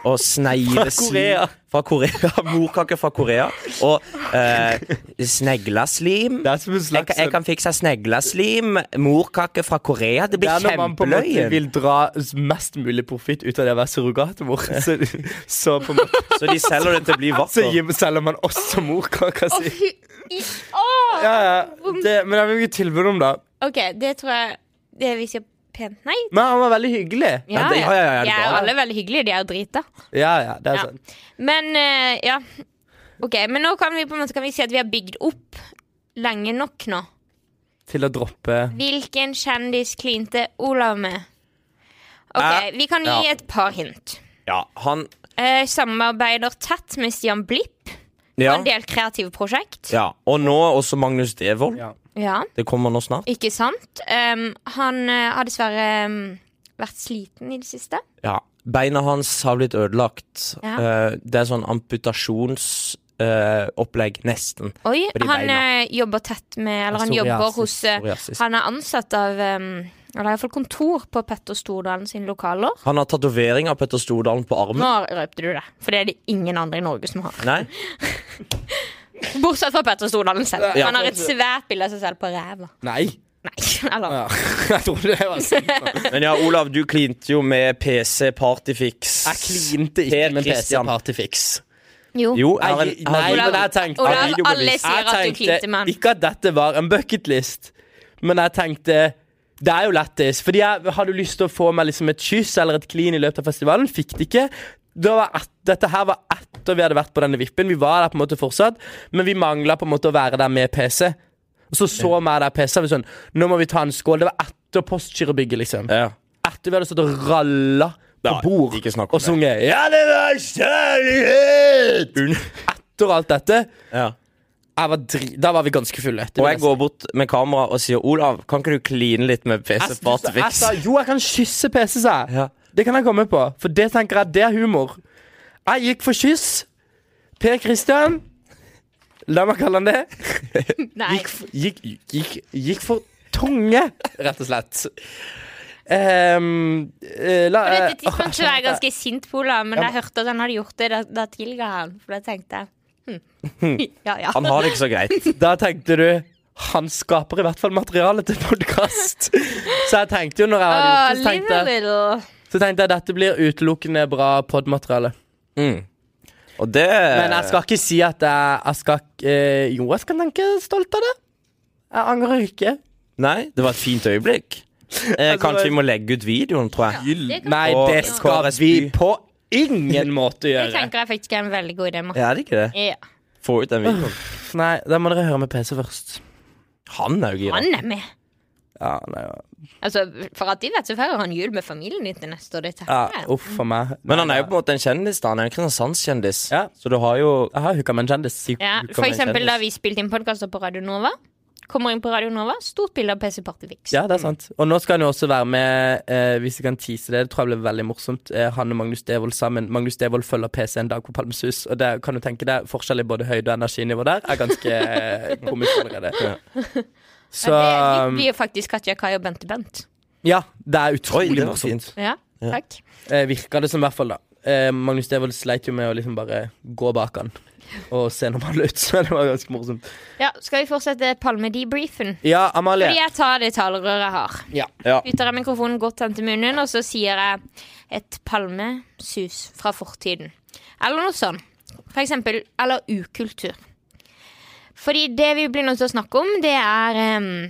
Speaker 3: og snegleslim
Speaker 2: Korea.
Speaker 3: Fra Korea. Morkake fra Korea. Og eh, sneglaslim.
Speaker 2: Det er som en
Speaker 3: Jeg, kan- jeg kan fikse sneglaslim, morkake fra Korea. Det
Speaker 2: det
Speaker 3: blir
Speaker 2: er når man på en måte
Speaker 3: kjempeløye.
Speaker 2: vil dra mest mulig profitt ut av det å være surrogatmor. Så, så på en måte
Speaker 3: Så de selger det til å bli
Speaker 2: Så
Speaker 3: vakker.
Speaker 2: gir- selger man også morkaka
Speaker 1: Å,
Speaker 2: si.
Speaker 1: fy i- Å!
Speaker 2: Ja, ja. Det, men det er jo ikke tilbud om, da.
Speaker 1: OK, det tror jeg det vi sier pent nei.
Speaker 2: Men han var veldig hyggelig.
Speaker 1: Ja,
Speaker 3: det- ja, ja, ja, det
Speaker 1: de
Speaker 3: er
Speaker 1: er
Speaker 3: bra,
Speaker 1: alle veldig hyggelige. De er jo drita.
Speaker 2: Ja, ja, det er
Speaker 1: Ja.
Speaker 2: sånn. sant.
Speaker 1: Men eh, ja. OK, men nå kan vi på en måte kan vi si at vi har bygd opp lenge nok nå.
Speaker 2: Til å droppe
Speaker 1: Hvilken kjendis klinte Olav med? Ok, Vi kan gi
Speaker 3: Eh, Ja.
Speaker 1: et par hint.
Speaker 3: Ja, han
Speaker 1: Eh, samarbeider tett med Stian Blipp på
Speaker 3: Ja.
Speaker 1: en del kreative prosjekt.
Speaker 3: ja. Og nå også Magnus Devold.
Speaker 2: Ja.
Speaker 1: Ja,
Speaker 3: Det kommer nå snart.
Speaker 1: ikke sant? Em, han eh, har dessverre em, vært sliten i det siste.
Speaker 3: Ja. Beina hans har blitt ødelagt.
Speaker 1: Ja.
Speaker 3: Eh, det er sånn amputasjonsopplegg, nesten.
Speaker 1: Oi,
Speaker 3: På de
Speaker 1: han
Speaker 3: beina.
Speaker 1: eh, jobber tett med Eller han
Speaker 2: Psoriasis,
Speaker 1: jobber hos eh,
Speaker 3: psoriasis.
Speaker 1: Han er ansatt av em, Eller iallfall kontor på Petter Stordalen sine lokaler.
Speaker 3: Han har tatovering av Petter Stordalen på armen.
Speaker 1: Nå røpte du det, for det er det ingen andre i Norge som har.
Speaker 3: Nei?
Speaker 1: Bortsett fra Petter Stordalen selv.
Speaker 2: Ja.
Speaker 1: Han har et svært bilde av seg selv på ræva.
Speaker 2: Nei.
Speaker 1: Nei, eller
Speaker 2: Ja. Jeg trodde det var sånn. sykt.
Speaker 3: Men ja, Olav, du klinte jo med PC Partyfix.
Speaker 2: Jeg klinte ikke
Speaker 3: Per
Speaker 2: med PC
Speaker 3: Christian.
Speaker 2: Partyfix.
Speaker 1: Jo.
Speaker 3: Jo,
Speaker 2: Jeg-
Speaker 3: jeg,
Speaker 2: Nei,
Speaker 3: jeg,
Speaker 1: Olav,
Speaker 2: men jeg tenkte
Speaker 1: Olav,
Speaker 2: Jeg
Speaker 1: alle sier at du
Speaker 2: tenkte
Speaker 1: klinte med han.
Speaker 2: Ikke at dette var en bucketlist, men jeg tenkte det er jo lættis. Fordi jeg hadde jo lyst til å få meg liksom et kyss eller et klin i løpet av festivalen. Fikk det ikke. Da var et, dette her var etter vi hadde vært på denne vippen. Vi var der på en måte fortsatt, men vi mangla på en måte å være der med PC. Og så så vi der PC, og vi sånn Nå må vi ta en skål. Det var etter Postgirobygget, liksom.
Speaker 3: ja.
Speaker 2: Etter vi hadde stått og ralla på
Speaker 3: Ja,
Speaker 2: bord
Speaker 3: ikke snakk om
Speaker 2: og
Speaker 3: det.
Speaker 2: sunget 'Ja, det var kjærlighet'.
Speaker 3: Un-
Speaker 2: Etter alt dette
Speaker 3: ja.
Speaker 2: jeg var dri Da var vi ganske fulle. Det
Speaker 3: Og
Speaker 2: vil
Speaker 3: jeg
Speaker 2: si.
Speaker 3: går bort med kamera og sier Olav, kan ikke du kline litt med PC
Speaker 2: Jeg- du sa- jeg
Speaker 3: Partyfix?
Speaker 2: sa jo, jeg kan kysse PC, sa jeg.
Speaker 3: Ja.
Speaker 2: Det kan jeg komme på, for det tenker jeg, det er humor. Jeg gikk for kyss. Per Christian La meg kalle han det.
Speaker 1: Nei.
Speaker 2: Gikk, for- gikk, gikk, gikk for tunge, rett og slett. Ehm, eh, la,
Speaker 1: På dette
Speaker 2: eh, åh, jeg
Speaker 1: tidspunktet var jeg
Speaker 2: skjønte det.
Speaker 1: ganske sint på Olav, men da jeg hørte at han hadde gjort det, da, da tilga han. For da tenkte jeg hm. Ja, ja.
Speaker 3: Han har det ikke så greit.
Speaker 2: Da tenkte du han skaper i hvert fall materiale til podkast. Så jeg tenkte jo når jeg
Speaker 1: Åh,
Speaker 2: hadde gjort det, så
Speaker 1: live a
Speaker 2: tenkte, jeg-
Speaker 1: little.
Speaker 2: så tenkte jeg dette blir utelukkende bra podmateriale.
Speaker 3: Og det
Speaker 2: Men jeg skal ikke si at jeg, jeg skal ikke- eh, Jo, jeg skal tenke stolt av det. Jeg angrer ikke.
Speaker 3: Nei, det var et fint øyeblikk. Eh,
Speaker 2: Altså,
Speaker 3: kanskje
Speaker 2: det-
Speaker 3: vi må legge ut videoen, tror jeg.
Speaker 1: Det kan-
Speaker 2: Nei,
Speaker 3: Og
Speaker 2: det skal
Speaker 3: KRSU.
Speaker 2: vi på ingen måte
Speaker 1: Det
Speaker 2: gjøre.
Speaker 1: tenker jeg faktisk er en veldig god idé. Martin.
Speaker 3: Ja, er det ikke det?
Speaker 1: Ja.
Speaker 3: Få ut den videoen.
Speaker 2: Nei, da må dere høre med PC først.
Speaker 3: Han er jo gira.
Speaker 1: Han er med.
Speaker 2: Ja, nei, ja.
Speaker 1: Altså, For at de vet, så feirer han jul med familien din til neste år. Det tenker
Speaker 2: ja
Speaker 1: jeg.
Speaker 2: uff for meg.
Speaker 3: Men han er jo på en måte en kjendis, da. Han er en Kristiansandskjendis.
Speaker 2: Ja.
Speaker 3: Så du har jo
Speaker 2: Jeg har hooka med en kjendis.
Speaker 1: Ja,
Speaker 3: Du kan
Speaker 1: for
Speaker 3: være
Speaker 1: eksempel
Speaker 3: kjendis.
Speaker 1: da vi spilte inn podkaster på Radio Nova. Kommer inn på Radio Nova, stort bilde av PC Partyfix.
Speaker 2: Ja, det er sant. Og nå skal han jo også være med, eh, hvis jeg kan tease det, det tror jeg blir veldig morsomt, eh, han og Magnus Devold sammen. Magnus Devold følger PC en dag på Palmesus, og det kan du tenke deg, forskjell i både høyde og energinivå der er ganske eh, komisk allerede. Så um,
Speaker 1: Ja, Det blir jo faktisk Katja Kai og Bente Bent.
Speaker 2: Ja, det er utrolig
Speaker 3: Oi, det var
Speaker 2: morsomt.
Speaker 3: fint.
Speaker 1: Ja, takk.
Speaker 2: Eh, virker det som, i hvert fall. da eh, Magnus Devold sleit jo med å liksom bare gå bak han og se normal ut. Så det var ganske morsomt.
Speaker 1: Ja, Skal vi fortsette Palme-debriefen?
Speaker 2: Ja,
Speaker 1: Fordi
Speaker 2: Amalie.
Speaker 1: jeg tar det talerøret jeg har.
Speaker 2: Ja.
Speaker 3: Ja.
Speaker 1: Bytter jeg mikrofonen godt hen til munnen, og så sier jeg et palmesus fra fortiden. Eller noe sånn. For eksempel Eller ukultur. Fordi det vi blir nødt til å snakke om, det er em,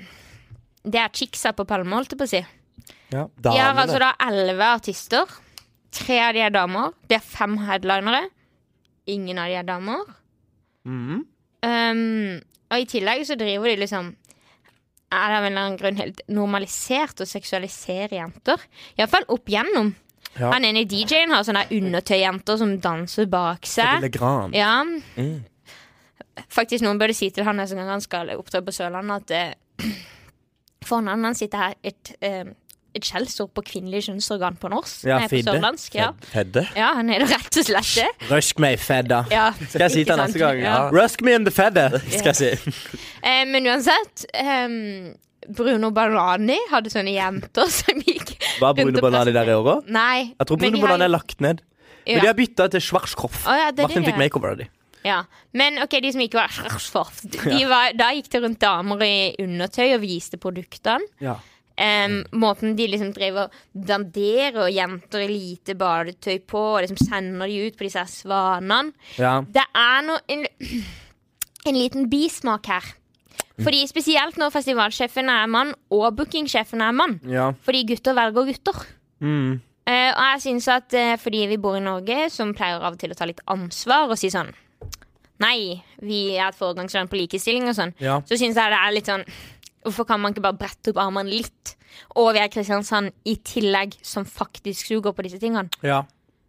Speaker 1: Det er chicksa på Palme, holdt jeg på å si. De har altså da elleve artister. Tre av de er damer. Det er fem headlinere. Ingen av de er damer. Um, og i tillegg så driver de liksom Er det av en eller annen grunn helt normalisert å seksualisere jenter? Iallfall opp gjennom.
Speaker 2: Ja.
Speaker 1: Han ene DJ-en har sånne undertøyjenter som danser bak seg.
Speaker 2: Telegram.
Speaker 1: Ja.
Speaker 2: Mm.
Speaker 1: Faktisk, noen burde si til han neste gang han skal opptre på Sørlandet, at eh, for navnet hans sitter her et, eh, et skjellsord på kvinnelig kjønnsorgan på norsk.
Speaker 2: Ja,
Speaker 1: Nei, på
Speaker 2: fidde.
Speaker 1: sørlandsk. Ja.
Speaker 3: Hedde.
Speaker 1: ja, han er det rett og slett det.
Speaker 2: Rusk meg i fedda.
Speaker 1: Ja,
Speaker 2: Skal jeg si
Speaker 1: ikke
Speaker 2: til
Speaker 1: sant?
Speaker 2: neste gang?
Speaker 1: Ja.
Speaker 2: Rusk me in the feather, skal jeg si.
Speaker 1: Eh, men uansett ehm, Bruno Banani hadde sånne jenter som gikk
Speaker 2: Var Bruno
Speaker 1: rundt og
Speaker 2: Banani der i
Speaker 1: presenterte-
Speaker 2: år òg?
Speaker 1: Nei.
Speaker 2: Jeg tror
Speaker 1: men
Speaker 2: Bruno
Speaker 1: de har
Speaker 2: Banani er
Speaker 1: jo-
Speaker 2: lagt ned. Men
Speaker 1: Ja.
Speaker 2: de har bytta til Schwarzkopf.
Speaker 1: Å ja, det er
Speaker 2: Martin
Speaker 1: det, ja.
Speaker 2: fikk makeover av de.
Speaker 1: Ja. Men ok, de som ikke var Schwarzkopf, de var, Da gikk det rundt damer i undertøy og viste produktene.
Speaker 2: Ja.
Speaker 1: Ehm, måten de liksom driver og danderer og jenter i lite badetøy på, og liksom sender de ut på disse her svanene. Det er noe en, en liten bismak her. Fordi Spesielt når festivalsjefen er mann, og bookingsjefen er mann.
Speaker 2: Ja.
Speaker 1: Fordi gutter velger gutter. Eh, og jeg synes at eh, fordi vi bor i Norge, som pleier av og til å ta litt ansvar og si sånn Nei, vi er et foregangsland på likestilling og sånn.
Speaker 2: Ja.
Speaker 1: Så synes jeg det er litt sånn Hvorfor kan man ikke bare brette opp armene litt? Og vi er Kristiansand i tillegg, som faktisk suger på disse tingene.
Speaker 2: Ja.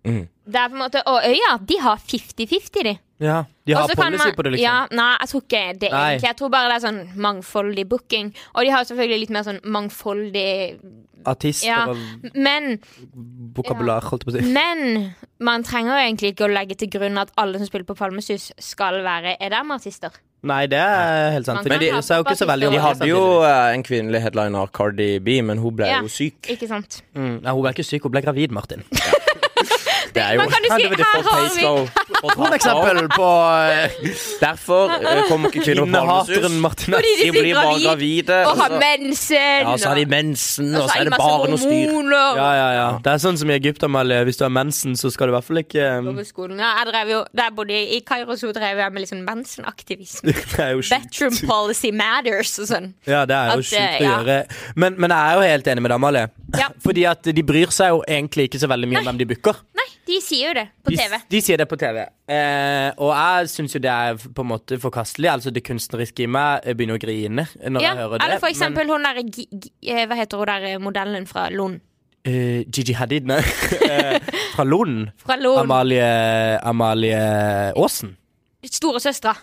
Speaker 1: Det er på en måte, Og øya, de har 50-50, de.
Speaker 2: ja. De har
Speaker 1: Og så kan
Speaker 2: policy
Speaker 1: man-
Speaker 2: på det, liksom.
Speaker 1: Ja, nei, jeg tror ikke det
Speaker 2: Nei.
Speaker 1: egentlig. Jeg tror bare det er sånn mangfoldig booking. Og de har jo selvfølgelig litt mer sånn mangfoldig
Speaker 2: Artister
Speaker 1: Ja.
Speaker 2: og
Speaker 1: Men,
Speaker 2: vokabular, holdt jeg på å si.
Speaker 1: men man trenger jo egentlig ikke å legge til grunn at alle som spiller på Palmesus, skal være EDM-artister.
Speaker 2: Nei, det er helt sant.
Speaker 1: Man
Speaker 2: For
Speaker 1: kan
Speaker 2: de
Speaker 1: ha
Speaker 2: sa jo ikke så veldig om
Speaker 1: Ja,
Speaker 3: De
Speaker 2: det
Speaker 3: hadde jo
Speaker 2: samtidig.
Speaker 3: eh, en kvinnelig headliner, Cardi B, men hun ble
Speaker 1: Ja.
Speaker 3: jo syk.
Speaker 1: Ikke sant?
Speaker 2: mm, Nei, hun ble ikke syk, hun ble gravid, Martin.
Speaker 3: Det er jo
Speaker 1: Man kan jo si
Speaker 2: Helvete,
Speaker 1: her
Speaker 3: for
Speaker 1: har vi
Speaker 3: peislow. For
Speaker 2: For
Speaker 3: tapper.
Speaker 2: eksempel på
Speaker 3: Derfor eh, kommer ikke kvinner på
Speaker 2: Innehateren
Speaker 3: Palmesus.
Speaker 2: Martin
Speaker 1: Fordi
Speaker 3: De
Speaker 1: de blir
Speaker 3: blir bare
Speaker 1: gravid
Speaker 3: gravide.
Speaker 1: og har
Speaker 3: så-
Speaker 1: mensen.
Speaker 3: altså- Ja, så har de mensen, og
Speaker 1: og
Speaker 3: så
Speaker 1: har
Speaker 3: er
Speaker 1: de
Speaker 3: det
Speaker 1: masse
Speaker 3: bare noe styr.
Speaker 1: hormoner.
Speaker 2: Ja, ja, ja. Det er sånn som i Egypt, Amalie. Hvis du har mensen, så skal du i hvert fall ikke eh,
Speaker 1: Gå på skolen. Ja, jeg drev jo, der bodde jeg i Kairo, så drev jeg med litt sånn mensenaktivisme.
Speaker 2: Det er jo sjukt.
Speaker 1: Bedroom policy matters og sånn.
Speaker 2: Ja, det er jo
Speaker 1: At,
Speaker 2: sjukt
Speaker 1: eh,
Speaker 2: å
Speaker 1: ja.
Speaker 2: gjøre. Men, men jeg er jo helt enig med deg, Amalie.
Speaker 1: Ja.
Speaker 2: Fordi at de bryr seg jo egentlig ikke så veldig mye om hvem de booker.
Speaker 1: Nei, de sier jo det på
Speaker 2: De,
Speaker 1: TV.
Speaker 2: de sier det på TV. Eh, og jeg syns jo det er på en måte forkastelig. Altså Det kunstneriske i meg eh, begynner å grine når
Speaker 1: Ja,
Speaker 2: jeg hører det.
Speaker 1: eller for eksempel hun derre Gi- Gi- eh, Hva heter hun der modellen fra Lund?
Speaker 2: Men eh, Gigi Hadid, nei. Eh, Fra Lund.
Speaker 1: Fra Lund.
Speaker 2: Amalie Amalie Aasen.
Speaker 1: Storesøstera.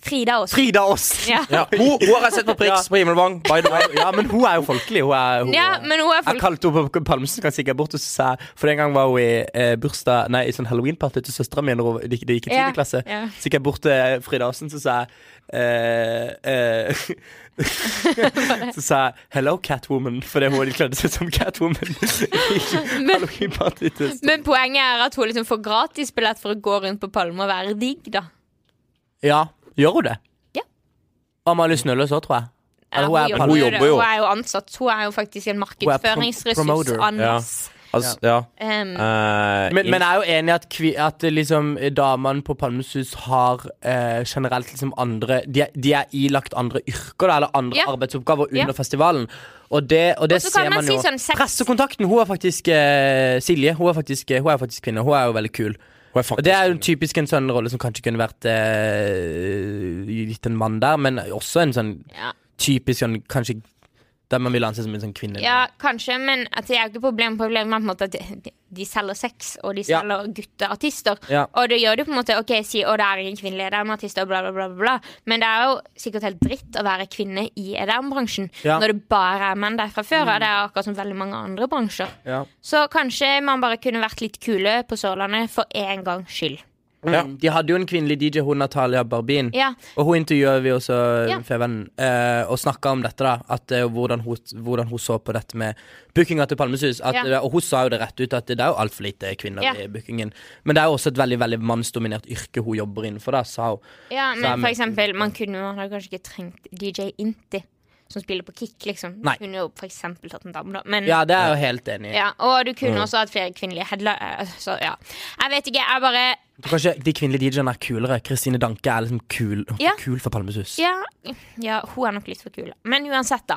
Speaker 1: Frida Aas.
Speaker 2: Frida Aasen!
Speaker 1: Ja.
Speaker 3: Ja, hun, hun har jeg sett på Prix på Himmelvang, by the way.
Speaker 2: Ja, men hun er jo folkelig. Hun er, hun,
Speaker 1: Ja, men hun er
Speaker 2: Jeg
Speaker 1: folk...
Speaker 2: kalte henne på Palmesen kan sikkert bort og så sa jeg- For den gang var hun i eh, bursdag Nei, i sånn Halloween-party til søstera mi da hun- det gikk det gikk i
Speaker 1: Ja,
Speaker 2: tiende klasse.
Speaker 1: ja.
Speaker 2: Så gikk jeg bort til Frida Aasen, så sa jeg eh, eh, Så sa jeg 'Hello, Catwoman', fordi hun hadde kledd seg som Catwoman. I
Speaker 1: Men-
Speaker 2: Halloween-party til søstera.
Speaker 1: Men poenget er at hun liksom får gratisbillett for å gå rundt på Palme og være digg, da.
Speaker 2: Ja, gjør hun det?
Speaker 1: Ja.
Speaker 2: Amalie Snølløs òg, tror jeg. Eller hun er
Speaker 1: gjør-
Speaker 2: Palme-
Speaker 3: hun jobber jo.
Speaker 1: Hun er jo ansatt. Hun er jo faktisk en markedsføringsressurs. Um,
Speaker 2: promoter, ja.
Speaker 1: Anders.
Speaker 3: Altså, ja.
Speaker 1: Em,
Speaker 3: Eh,
Speaker 2: Men, men jeg er jo enig i at, kvi, at eh, liksom, damene på Palmesus har eh, generelt liksom andre de, er- de er ilagt andre yrker da, eller andre
Speaker 1: Ja.
Speaker 2: arbeidsoppgaver under
Speaker 1: Ja.
Speaker 2: festivalen. Og det, og det
Speaker 1: Og så kan
Speaker 2: ser
Speaker 1: man
Speaker 2: man
Speaker 1: si
Speaker 2: jo.
Speaker 1: sånn sex-
Speaker 2: Pressekontakten, hun er faktisk eh, Silje. Hun er faktisk, hun er faktisk kvinne. Hun er jo veldig kul.
Speaker 3: hun er
Speaker 2: Og
Speaker 3: faktisk
Speaker 2: Det er jo typisk en sånn rolle som kanskje kunne vært eh, gitt en mann der, men også en sånn
Speaker 1: ja.
Speaker 2: typisk sånn kanskje der man vil anse som en sånn kvinne.
Speaker 1: ja, kanskje, men at det er jo ikke problem. Problemet er på en måte at de, de selger sex, og de
Speaker 2: Ja.
Speaker 1: selger gutteartister.
Speaker 2: Ja.
Speaker 1: Og det gjør det på en måte OK, si å, det er ingen kvinnelige EDM-artister, bla, bla, bla, bla, bla. Men det er jo sikkert helt dritt å være kvinne i EDM-bransjen
Speaker 2: Ja. Mm.
Speaker 1: når det bare er menn der fra før. Og det er akkurat som veldig mange andre bransjer.
Speaker 2: Ja.
Speaker 1: Så kanskje man bare kunne vært litt kule på Sørlandet for en gangs skyld.
Speaker 3: Ja.
Speaker 2: Mm. De hadde jo en kvinnelig DJ, hun Natalia Barbin.
Speaker 1: Ja.
Speaker 2: Og hun intervjuet vi også,
Speaker 1: Ja.
Speaker 2: Fevennen, eh, og snakka om dette. da at eh, hvordan, hun, hvordan hun så på dette med bookinga til Palmesus. At, eh,
Speaker 1: Ja.
Speaker 2: Og hun sa jo det rett ut, at det er jo altfor lite kvinner
Speaker 1: Ja.
Speaker 2: i bookingen. Men det er jo også et veldig veldig mannsdominert yrke hun jobber innenfor, da, sa hun.
Speaker 1: Ja,
Speaker 2: Så er
Speaker 1: men for
Speaker 2: vi-
Speaker 1: eksempel, man kunne jo man hadde kanskje ikke trengt DJ Inti, som spiller på kick, liksom. Du
Speaker 2: Nei.
Speaker 1: kunne jo for eksempel tatt en dame, da. Men, ja.
Speaker 2: Ja, det er jeg jo helt enig i.
Speaker 1: og du kunne også hatt flere kvinnelige headler. eh, Så ja. Jeg vet ikke, jeg bare
Speaker 2: Kanskje de kvinnelige DJ-ene er kulere. Kristine Danke er liksom kul,
Speaker 1: Ja.
Speaker 2: kul for Palmesus.
Speaker 1: ja, ja, hun er nok litt for kul. Men uansett, da.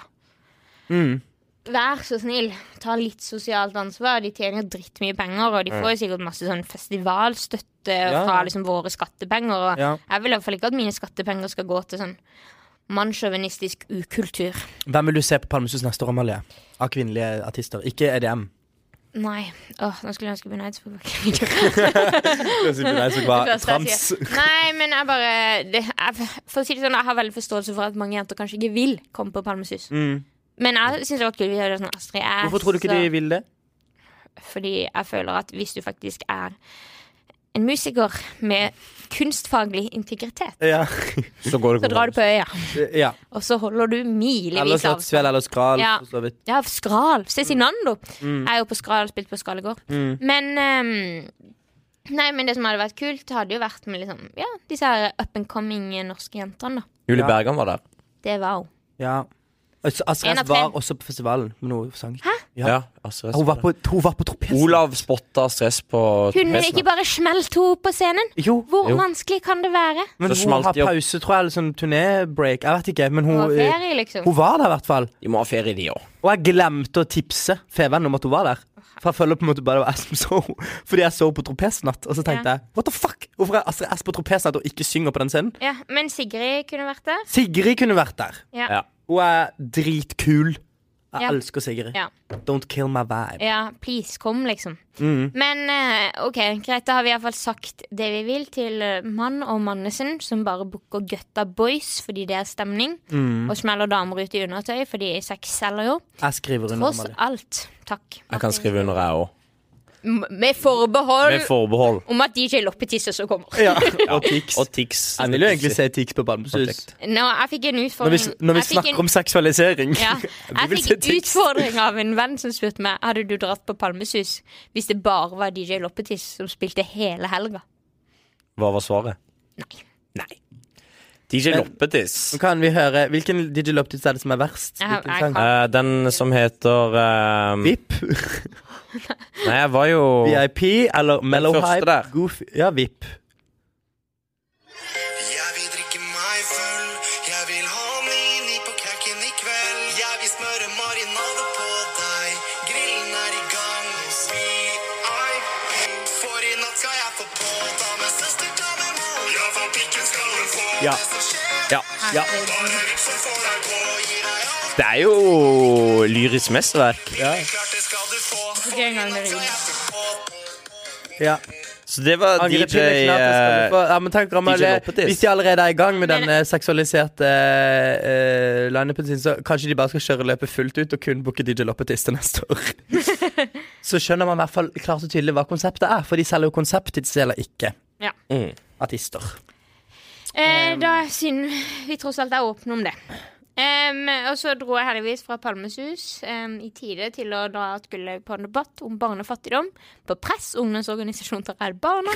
Speaker 2: Mm.
Speaker 1: Vær så snill, ta litt sosialt ansvar. De tjener jo drittmye penger, og de får jo sikkert masse sånn festivalstøtte
Speaker 2: ja.
Speaker 1: fra liksom våre skattepenger. Og
Speaker 2: Ja.
Speaker 1: jeg vil i hvert fall ikke at mine skattepenger skal gå til sånn mannssjåvinistisk ukultur.
Speaker 2: Hvem vil du se på Palmesus neste år, Amalie? Av kvinnelige artister. Ikke E EDM.
Speaker 1: Nei. Åh, nå skulle jeg ønske Binaid skulle bakke Nei, men jeg bare det, jeg, For å si det sånn, jeg har veldig forståelse for at mange jenter kanskje ikke vil komme på Palmesus.
Speaker 2: Mm.
Speaker 1: Men jeg syns det var kult. Vi gjør det sånn Astrid S.
Speaker 2: Hvorfor tror du ikke de
Speaker 1: altså-
Speaker 2: vil det?
Speaker 1: Fordi jeg føler at hvis du faktisk er en musiker med kunstfaglig integritet,
Speaker 2: Ja.
Speaker 3: Så går
Speaker 1: så
Speaker 3: det
Speaker 1: drar du på øya,
Speaker 2: ja.
Speaker 1: og så holder du milevis
Speaker 2: Eller
Speaker 1: av
Speaker 2: Slottsfjell eller Skral,
Speaker 1: Ja.
Speaker 2: for så vidt.
Speaker 1: Ja, Skral. Cezinando.
Speaker 2: Mm.
Speaker 1: Jeg er jo på Skral og spilt på Skral i går. Men ehm, Nei, men det som hadde vært kult, hadde jo vært med liksom, ja, disse her up and coming norske jentene. da.
Speaker 3: Julie
Speaker 2: Ja.
Speaker 3: Bergan var der.
Speaker 1: Det var hun.
Speaker 2: Ja. Altså,
Speaker 1: En av
Speaker 2: Astrid
Speaker 1: tre.
Speaker 2: var også på festivalen, men hun sang ikke. Ja.
Speaker 3: altså, jeg-
Speaker 2: Hun var på, hun var på tropesen.
Speaker 3: Olav spotta stress på
Speaker 1: Kunne
Speaker 3: festen.
Speaker 1: ikke bare smelt henne på scenen?
Speaker 2: Jo,
Speaker 1: Hvor
Speaker 3: Jo.
Speaker 1: vanskelig kan det være?
Speaker 2: men
Speaker 3: Så
Speaker 2: hun
Speaker 3: smalt
Speaker 2: har
Speaker 3: de opp.
Speaker 2: pause, tror jeg, eller sånn turnébreak. Jeg vet ikke, men
Speaker 1: Hun
Speaker 2: hun,
Speaker 1: var
Speaker 2: eh,
Speaker 1: ferie, liksom.
Speaker 2: hun var der i hvert fall.
Speaker 3: De må ha ferie, de òg.
Speaker 2: Og jeg glemte å tipse Feven om at hun var der. For jeg føler på en måte bare det var jeg som så henne. Fordi jeg så henne på tropesnatt, og så tenkte
Speaker 1: Ja.
Speaker 2: jeg what the fuck? Hvorfor er Astrid S på tropesnatt og ikke synger på den scenen?
Speaker 1: Ja, Men Sigrid kunne vært der.
Speaker 2: Sigrid kunne vært der.
Speaker 1: Ja.
Speaker 3: Ja.
Speaker 2: Hun er dritkul. Jeg
Speaker 1: Ja.
Speaker 2: elsker Sigrid.
Speaker 1: Ja.
Speaker 2: Don't kill my vibe.
Speaker 1: Ja, please, kom, liksom. Men eh, OK, greit, da har vi iallfall sagt det vi vil til eh, Mann og Mannesen, som bare booker gutta boys fordi det er stemning, og smeller damer ut i undertøy fordi sex selger jo.
Speaker 2: Jeg skriver under
Speaker 1: Tross
Speaker 2: med det.
Speaker 1: alt. Takk.
Speaker 3: Jeg kan skrive under, jeg òg.
Speaker 1: M- Med forbehold
Speaker 3: Med forbehold.
Speaker 1: om at DJ Loppetiss også kommer.
Speaker 2: Og Tix.
Speaker 3: Og Tix.
Speaker 2: Jeg vil jo egentlig se Tix på Bamsus.
Speaker 1: Nå, jeg fikk en
Speaker 2: Når
Speaker 1: utfordring
Speaker 2: vi, når vi
Speaker 1: Jeg fikk en-
Speaker 2: snakker om seksualisering.
Speaker 1: ja,
Speaker 2: vil
Speaker 1: Jeg
Speaker 2: se
Speaker 1: fikk en
Speaker 2: tics.
Speaker 1: utfordring av en venn som spurte meg Hadde du dratt på Palmesus hvis det bare var DJ Loppetiss som spilte hele helga.
Speaker 3: Hva var svaret? Nei. DJ Loppetiss.
Speaker 2: Nå kan vi høre Hvilken DJ Loptis er det som er verst?
Speaker 1: Jeg har-
Speaker 2: Hvilken
Speaker 1: jeg
Speaker 2: sang?
Speaker 1: kan-
Speaker 3: Eh, den som heter eh,
Speaker 2: VIP,
Speaker 3: Nei, jeg var jo
Speaker 2: VIP eller Mellow
Speaker 3: første
Speaker 2: Hype?
Speaker 3: der.
Speaker 2: Goofy. Ja, VIP.
Speaker 4: Jeg vil drikke meg full. Jeg vil ha mini på knekken i kveld. Jeg vil smøre marinade på deg. Grillen er i gang. VIP. For i natt skal jeg få på. Ta med søster, ta med mor. Ja, for pikken skal hun få.
Speaker 3: Ja.
Speaker 4: Det som skjer,
Speaker 3: Ja.
Speaker 1: Ja.
Speaker 4: bare liksom får deg på. Gir deg alt.
Speaker 3: Det er jo lyrisk mesterverk.
Speaker 4: Klart det skal du få.
Speaker 1: Ok, en gang med rim.
Speaker 4: Jeg får på.
Speaker 2: Ja.
Speaker 3: Så det var
Speaker 2: Angre
Speaker 3: DJ
Speaker 2: piller, knapper, skal du
Speaker 3: eh,
Speaker 2: få- ja, men tenk om
Speaker 3: DJ
Speaker 2: alle,
Speaker 3: Loppetis.
Speaker 2: Hvis de allerede er i gang med
Speaker 1: Men-
Speaker 2: denne seksualiserte uh, lineupen sin, så kanskje de bare skal kjøre løpet fullt ut og kun booke DJ Loppetis til neste år. så skjønner man i hvert fall klart og tydelig hva konseptet er, for de selger jo konseptet, de selger ikke
Speaker 1: Ja.
Speaker 3: mm.
Speaker 2: artister.
Speaker 1: Eh, da, siden vi tross alt er åpne om det. Em, og så dro jeg heldigvis fra Palmesus em, i tide til å dra skulle på en debatt om barnefattigdom på Press, ungdomsorganisasjon til Redd Barna.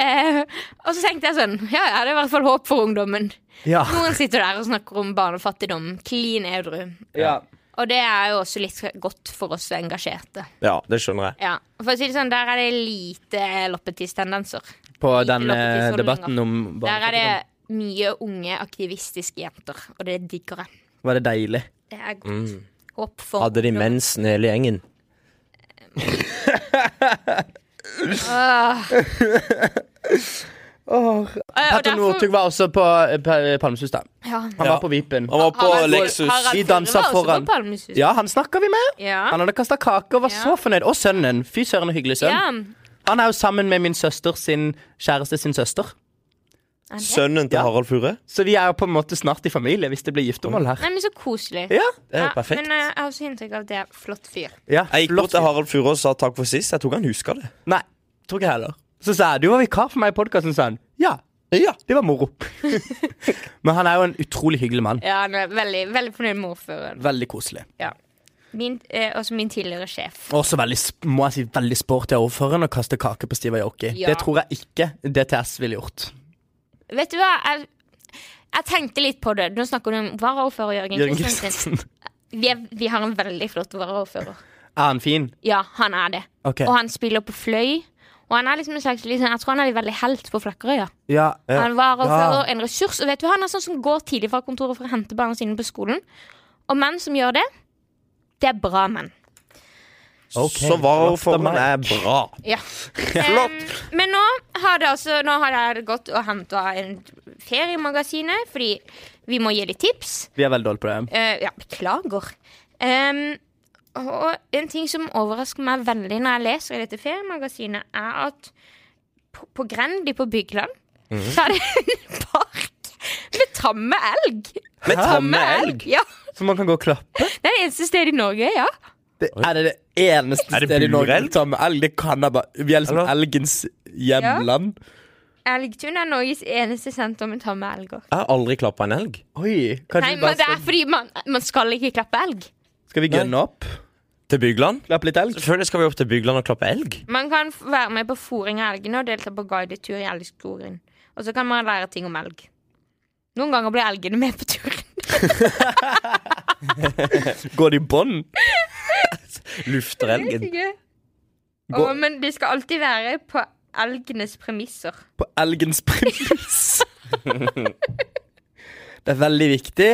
Speaker 1: Eh, og så tenkte jeg sånn Ja, ja, det er i hvert fall håp for ungdommen.
Speaker 2: Ja.
Speaker 1: Noen sitter der og snakker om barnefattigdom klin edru. Og det er jo også litt godt for oss engasjerte.
Speaker 3: Ja, det skjønner jeg.
Speaker 1: Ja. For å si det sånn, der er det lite loppetiss-tendenser.
Speaker 2: På
Speaker 1: Ikke
Speaker 2: den eh,
Speaker 1: Loppetis-holdninger.
Speaker 2: debatten om
Speaker 1: Der er
Speaker 2: barnefattigdom.
Speaker 1: det mye unge, aktivistiske jenter, og det digger jeg.
Speaker 2: Var det deilig?
Speaker 1: Det er godt. Håp for
Speaker 3: Hadde de mensen hele gjengen?
Speaker 1: Eh, og
Speaker 2: Petter
Speaker 1: derfor-
Speaker 2: Northug var også på eh, pa- Palmesus, da.
Speaker 1: Ja.
Speaker 2: Han
Speaker 3: Ja.
Speaker 2: var på Vipen.
Speaker 3: Han var på
Speaker 1: Harald-
Speaker 3: Lexus.
Speaker 1: Harald
Speaker 2: Vi
Speaker 1: Furre
Speaker 2: dansa
Speaker 1: var også
Speaker 2: foran.
Speaker 1: på Palmesus.
Speaker 2: Ja, han snakka vi med.
Speaker 1: Ja.
Speaker 2: Han hadde kasta kake og var
Speaker 1: Ja.
Speaker 2: så fornøyd. Og sønnen. Fy søren, en hyggelig sønn.
Speaker 1: Ja.
Speaker 2: Han er jo sammen med min søster sin kjæreste sin søster.
Speaker 1: Er det?
Speaker 3: Sønnen til
Speaker 2: Ja.
Speaker 3: Harald Furre?
Speaker 2: Så vi er jo på en måte snart i familie hvis det blir giftermål her.
Speaker 1: Nei, men så koselig.
Speaker 2: Ja,
Speaker 3: Det er jo
Speaker 1: Ja,
Speaker 3: perfekt.
Speaker 1: Men eh, jeg har også inntrykk av at det er flott fyr.
Speaker 2: ja.
Speaker 3: Jeg gikk
Speaker 2: flott.
Speaker 3: bort til Harald Furre og sa takk for sist. Jeg tror ikke han husker det.
Speaker 2: Nei, tror ikke jeg heller. Så sa jeg du var vikar for meg i podkasten, sa han. Ja. ja. Det var moro. Men han er jo en utrolig hyggelig mann.
Speaker 1: Ja, han er veldig, veldig fornøyd med ordføreren.
Speaker 2: Veldig koselig.
Speaker 1: Ja. Min, eh, også min tidligere sjef.
Speaker 2: Også veldig, sp- må jeg si, veldig sporty av ordføreren å kaste kake på Steve Aoki.
Speaker 1: Ja.
Speaker 2: Det tror jeg ikke DTS ville gjort.
Speaker 1: Vet du hva? Jeg, jeg tenkte litt på det. Nå snakker du om varaordfører Jørgen
Speaker 2: Jørgen
Speaker 1: Kristiansen.
Speaker 2: Kristiansen.
Speaker 1: Vi, er- vi har en veldig flott varaordfører.
Speaker 2: Er han fin?
Speaker 1: Ja, han er det.
Speaker 2: Ok.
Speaker 1: Og han spiller på fløy. Og han er liksom en slags liksom, Jeg tror han er en veldig helt på Flakkerøya.
Speaker 2: Ja. eh.
Speaker 1: Han var overfører, en ressurs. Og vet du, hva? han er sånn som går tidlig fra kontoret for å hente barna sine på skolen. Og menn som gjør det, det er bra menn.
Speaker 2: Ok.
Speaker 3: Så
Speaker 2: Flott
Speaker 3: var
Speaker 2: av
Speaker 3: formen
Speaker 2: meg.
Speaker 3: er bra.
Speaker 1: Ja. Em, men nå har det altså Nå har jeg gått og henta en feriemagasinet, fordi vi må gi litt tips.
Speaker 2: Vi er veldig dårlige på det.
Speaker 1: Eh, ja, beklager. Em, og en ting som overrasker meg veldig når jeg leser i dette feriemagasinet, er at på, på Grendi på Bygland så er det en park med tamme elg.
Speaker 3: Med
Speaker 1: Tamme
Speaker 3: tamme elg?
Speaker 1: elg? Ja.
Speaker 2: Så man kan gå og klappe?
Speaker 1: Det er det eneste stedet i Norge, ja.
Speaker 2: Det, er det det eneste
Speaker 3: Er det
Speaker 2: stedet i Norge
Speaker 3: burelg?
Speaker 2: som tar med elg? Det kan jeg bare Vi er liksom
Speaker 3: Eller?
Speaker 2: elgens hjemland.
Speaker 1: Elgtun er Norges eneste senter med tamme elger.
Speaker 3: Jeg har aldri klappa en elg.
Speaker 2: Oi. Kanskje
Speaker 1: Nei,
Speaker 2: vi
Speaker 1: men
Speaker 2: bare
Speaker 1: det er
Speaker 2: skal,
Speaker 1: fordi man, man skal ikke klappe elg.
Speaker 2: skal vi gønne opp?
Speaker 3: Til Bygland?
Speaker 2: Klappe litt elg?
Speaker 3: Selvfølgelig skal vi opp til Bygland og klappe elg.
Speaker 1: Man kan f- være med på fôring av elgene og delta på guidetur i elgskogen. Og så kan man lære ting om elg. Noen ganger blir elgene med på turen.
Speaker 2: Går det i bånd?
Speaker 3: Lufter elgen.
Speaker 1: Å, men det skal alltid være på elgenes premisser.
Speaker 2: På elgens premiss. det er veldig viktig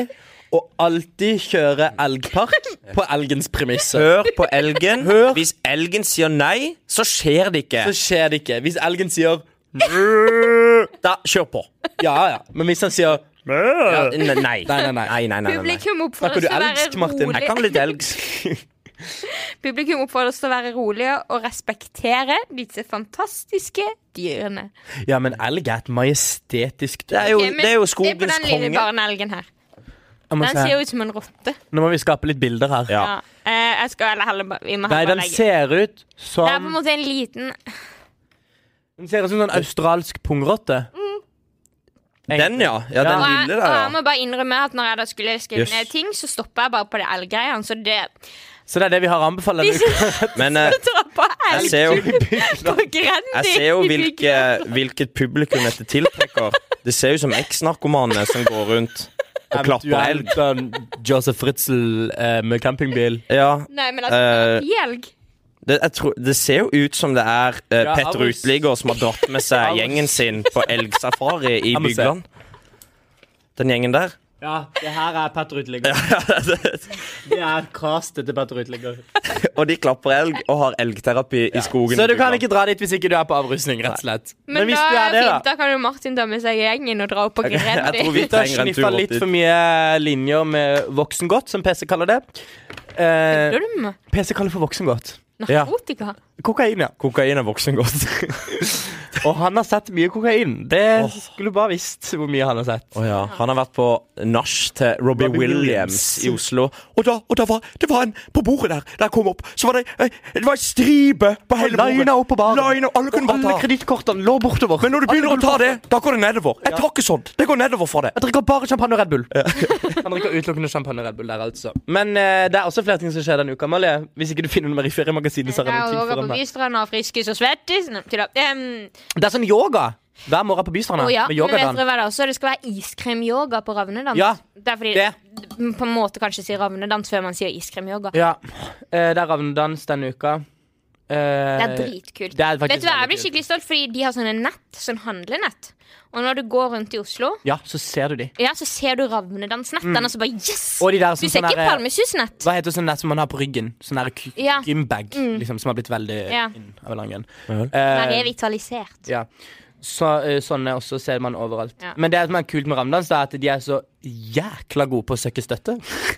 Speaker 2: å alltid kjøre elgpark på elgens premisser.
Speaker 3: Hør på elgen. Hvis elgen sier nei, så skjer det ikke.
Speaker 2: Så skjer det ikke. Hvis elgen sier
Speaker 3: Da, kjør på.
Speaker 2: ja, ja, men hvis han sier
Speaker 3: Ja, ne- nei. Nei, nei, nei, nei, nei, nei.
Speaker 1: Publikum oppfordres
Speaker 2: du
Speaker 1: til å være
Speaker 2: elgsk, Martin?
Speaker 1: rolig.
Speaker 3: Jeg kan litt elg.
Speaker 1: Publikum oppfordres til å være rolige og respektere disse fantastiske dyrene.
Speaker 2: Ja, men elg er et majestetisk
Speaker 3: Det er jo,
Speaker 1: Ok, men
Speaker 3: det er
Speaker 1: det er
Speaker 3: jo
Speaker 1: på
Speaker 3: skogens
Speaker 1: den lille
Speaker 3: konge.
Speaker 1: barneelgen her.
Speaker 2: Jeg må
Speaker 1: Den
Speaker 2: se.
Speaker 1: ser ut som en rotte.
Speaker 2: Nå må vi skape litt bilder her.
Speaker 3: Ja.
Speaker 1: Ja. Eh, jeg skal eller heller bare- vi må
Speaker 2: Nei,
Speaker 1: heller
Speaker 2: den
Speaker 1: bare legge-
Speaker 2: ser ut
Speaker 1: Det er på en
Speaker 2: som
Speaker 1: måte en liten
Speaker 2: Den ser ut som en sånn australsk pungrotte.
Speaker 3: Den, ja. ja den
Speaker 1: og, jeg,
Speaker 3: lille
Speaker 1: og
Speaker 3: der,
Speaker 1: jeg
Speaker 3: ja.
Speaker 1: må bare innrømme at når jeg da skulle skrive
Speaker 3: Jøss.
Speaker 1: ned ting, så stoppa jeg bare på det elggreiene. Så det
Speaker 2: Så det er det vi har anbefalt.
Speaker 1: De
Speaker 2: denne uka.
Speaker 3: Men eh,
Speaker 1: drar på
Speaker 3: jeg ser
Speaker 1: elgtur
Speaker 3: jo
Speaker 1: på Grendi.
Speaker 3: Jeg ser jo
Speaker 1: i
Speaker 3: hvilke,
Speaker 1: bygda.
Speaker 3: hvilket publikum dette tiltrekker. Det ser jo som eks-narkomane som går rundt og klapper
Speaker 2: Eventuelt
Speaker 3: elg.
Speaker 2: Sånn Joseph Fritzl eh, med campingbil.
Speaker 3: Ja,
Speaker 1: Nei, men altså,
Speaker 3: Eh,
Speaker 1: uh, elg.
Speaker 3: det, jeg tror, det ser jo ut som det er eh,
Speaker 2: Ja,
Speaker 3: Petter
Speaker 2: August.
Speaker 3: Uteligger som har dratt med seg
Speaker 2: August.
Speaker 3: gjengen sin på elgsafari i
Speaker 2: Jeg må se.
Speaker 3: Bygland. Den gjengen der.
Speaker 5: Ja, det her er Petter Uteligger. Det er castet til Petter Uteligger.
Speaker 3: Og de klapper elg og har elgterapi i skogen.
Speaker 2: Så
Speaker 3: i
Speaker 2: du kan
Speaker 3: Bygland.
Speaker 2: ikke dra dit hvis ikke du er på avrusning, rett og slett.
Speaker 1: Men,
Speaker 2: hvis
Speaker 1: da
Speaker 2: du er
Speaker 1: er
Speaker 2: det,
Speaker 1: fint,
Speaker 2: da.
Speaker 1: da kan jo Martin ta med seg gjengen og dra opp på
Speaker 3: Jeg tror
Speaker 1: Grendi.
Speaker 3: vi
Speaker 2: Da
Speaker 3: trenger en tur
Speaker 2: sniffa
Speaker 3: opp
Speaker 2: litt
Speaker 3: dit.
Speaker 2: for mye linjer med voksengodt, som PC kaller det. Eh,
Speaker 1: Ulm?
Speaker 2: PC kaller for voksengodt.
Speaker 1: Narkotika?
Speaker 2: Kokain, ja.
Speaker 3: Kokain er voksengodt.
Speaker 2: Og han har sett mye kokain. Det skulle du bare visst hvor mye han har sett.
Speaker 3: Å ja. Han har vært på nach til Robbie,
Speaker 2: Robbie
Speaker 3: Williams.
Speaker 2: Williams.
Speaker 3: i Oslo. Og da, og da var det var en på bordet der da jeg kom opp. Så var det eh, Det var en stripe på hele bordet.
Speaker 2: Lina opp på baren.
Speaker 3: Lina, alle kunne bare
Speaker 2: Alle
Speaker 3: ta.
Speaker 2: kredittkortene lå bortover.
Speaker 3: Men når du begynner å ta det, da går det nedover. Jeg tar ikke sånt. Det går nedover for det.
Speaker 2: Jeg drikker bare champagne og Red Bull. Han drikker utelukkende champagne og Red Bull der, altså. Men eh, det er også flere ting som skjer denne uka, Amalie. Hvis ikke du finner noe mer i feriemagasinet, så
Speaker 1: Jeg
Speaker 2: har jeg
Speaker 1: har
Speaker 2: noe tid
Speaker 1: vært
Speaker 2: foran
Speaker 1: på
Speaker 2: meg.
Speaker 1: Bystranda og friskis og svettis. Nei, tulla. Em,
Speaker 2: Det er sånn yoga hver morgen på Bystranda.
Speaker 1: Å ja,
Speaker 2: med
Speaker 1: men vet
Speaker 2: yogadans.
Speaker 1: dere hva det er også? Det skal være iskremyoga på ravnedans.
Speaker 2: Ja,
Speaker 1: det er fordi
Speaker 2: det.
Speaker 1: man på en måte kanskje sier ravnedans før man sier iskremyoga.
Speaker 2: Ja. Eh, det er ravnedans denne uka. Eh,
Speaker 1: Det er dritkult.
Speaker 2: Det er faktisk
Speaker 1: Vet du hva, Jeg
Speaker 2: veldig
Speaker 1: blir skikkelig stolt, fordi de har sånne nett, sånn handlenett. Og når du går rundt i Oslo,
Speaker 2: Ja, så ser du de.
Speaker 1: ja, så ser du ravnedansnettene, og så bare yes!
Speaker 2: Mm. Og de der som
Speaker 1: Du ser
Speaker 2: sånn
Speaker 1: ikke
Speaker 2: her-
Speaker 1: palmesusnett.
Speaker 2: Hva heter sånn nett som man har på ryggen? Sånn der k-
Speaker 1: Ja. Mm.
Speaker 2: gymbag, liksom, som har blitt veldig
Speaker 1: Ja.
Speaker 2: inn av en lang grunn.
Speaker 1: Den
Speaker 2: Eh,
Speaker 1: er revitalisert.
Speaker 2: ja. så, eh, sånne også ser man overalt.
Speaker 1: Ja.
Speaker 2: Men det som er kult med ramdans, er at de er så jækla gode på å søke støtte.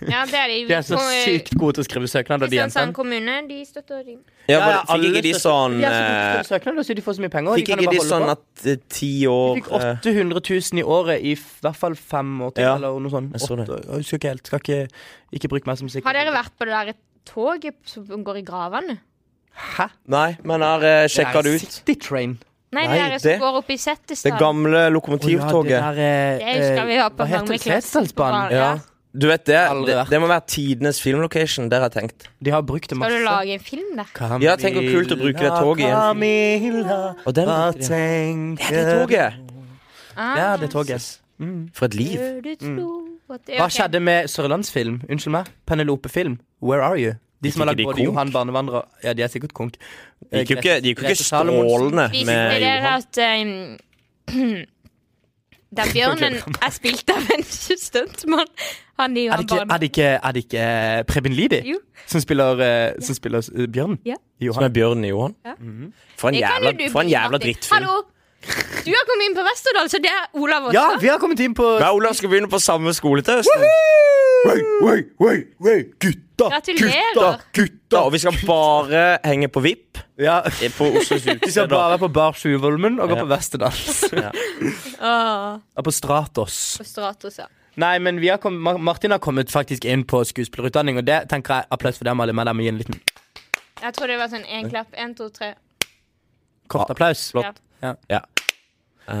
Speaker 1: Ja, det er de.
Speaker 2: De er så
Speaker 1: Kom-
Speaker 2: sykt gode til å skrive søknader, de
Speaker 1: Kristiansand
Speaker 2: jentene.
Speaker 1: kommune, de støtter de.
Speaker 3: Ja,
Speaker 2: Ja, ja,
Speaker 3: men Fikk
Speaker 2: alle
Speaker 3: ikke de
Speaker 2: søster-
Speaker 3: sånn
Speaker 2: De er så gode til å
Speaker 3: eh,
Speaker 2: skrive søknader, så de får så mye penger. og
Speaker 3: Fikk
Speaker 2: kan jo
Speaker 3: ikke
Speaker 2: bare
Speaker 3: de
Speaker 2: holde
Speaker 3: sånn
Speaker 2: på.
Speaker 3: at eh, ti
Speaker 2: Fikk
Speaker 3: år eh,
Speaker 2: 800 000 i året i f- hvert fall fem år til,
Speaker 3: Ja,
Speaker 2: eller noe sånt.
Speaker 3: jeg så det.
Speaker 2: Åtte- jeg husker ikke helt. Skal ikke, ikke bruke meg som sikkerhet.
Speaker 1: Har dere vært på det der toget som går i gravene?
Speaker 2: Hæ?
Speaker 3: Nei, men her sjekka det ut.
Speaker 2: City Train.
Speaker 1: Nei,
Speaker 3: Nei,
Speaker 1: det der som
Speaker 3: det-
Speaker 1: går opp i
Speaker 3: Det
Speaker 1: Settestad.
Speaker 3: gamle
Speaker 2: Å ja,
Speaker 3: lokomotivtoget.
Speaker 2: det der,
Speaker 3: eh,
Speaker 1: Det husker vi var på
Speaker 2: hva heter
Speaker 1: Magne
Speaker 2: det?
Speaker 1: Clausen på
Speaker 2: Setesdalsbanen?
Speaker 1: Bar- Ja.
Speaker 3: Ja. Du vet det,
Speaker 2: Aldri
Speaker 3: det,
Speaker 2: vært.
Speaker 3: det må være tidenes filmlocation, der har jeg tenkt.
Speaker 2: De har brukt det
Speaker 1: Skal du
Speaker 2: masse.
Speaker 1: lage en film der?
Speaker 3: Ja, tenk hvor kult å bruke det toget igjen.
Speaker 2: Camilla,
Speaker 3: Og den,
Speaker 2: hva
Speaker 3: det
Speaker 2: tenker
Speaker 3: er toget!
Speaker 1: Ah,
Speaker 2: Ja, det toget.
Speaker 3: For et liv.
Speaker 1: du tro at det-
Speaker 2: Hva
Speaker 1: ok.
Speaker 2: skjedde med Sørlandsfilm? Unnskyld meg. Penelope-film. Where are you? De som har lagd
Speaker 3: ikke de
Speaker 2: både
Speaker 3: konk?
Speaker 2: Johan Barnevandrer Ja, de er sikkert konk.
Speaker 3: Det gikk jo ikke, det gikk jo ikke strålende
Speaker 1: Visste
Speaker 3: med
Speaker 1: dere
Speaker 3: Johan.
Speaker 1: at um, den bjørnen er spilt av en stuntmann? Han i
Speaker 2: Er det
Speaker 1: Johan
Speaker 2: ikke, er
Speaker 1: Barne.
Speaker 2: det ikke, er det ikke eh, Preben Lidi
Speaker 1: Jo.
Speaker 2: som spiller, eh, som spiller eh, Bjørn?
Speaker 1: Ja.
Speaker 3: Som
Speaker 2: Johan.
Speaker 3: er Bjørnen i Johan.
Speaker 1: Ja.
Speaker 2: Mhm.
Speaker 3: For en
Speaker 1: Det kan jo
Speaker 3: jævla,
Speaker 1: du
Speaker 3: for en
Speaker 1: bli,
Speaker 3: jævla
Speaker 1: Martin.
Speaker 3: drittfilm.
Speaker 1: Hallo! Du har kommet inn på Vesterdal, så det er Olav også.
Speaker 2: ja, vi har kommet inn på
Speaker 3: Hva, Olav skal begynne på samme skole til høsten. Wei, wei, wei, wei, Gutta,
Speaker 1: Gratulerer.
Speaker 3: gutta! Og vi skal bare henge på VIP
Speaker 2: Ja,
Speaker 3: på Oslos
Speaker 2: Vi skal
Speaker 3: utested.
Speaker 2: bare på Bar Sjuvholmen og gå
Speaker 3: Ja.
Speaker 2: på Vesterdals.
Speaker 1: Åh,
Speaker 2: Og på Stratos.
Speaker 1: på Stratos, ja.
Speaker 2: Nei, men vi har kommet, Mar- Martin har kommet faktisk inn på skuespillerutdanning, og det tenker jeg applaus for dem alle. Men jeg må gi en liten
Speaker 1: Jeg tror det var sånn én klapp. Én, to, tre.
Speaker 3: Ah,
Speaker 2: kort applaus. Eh,
Speaker 1: Ja.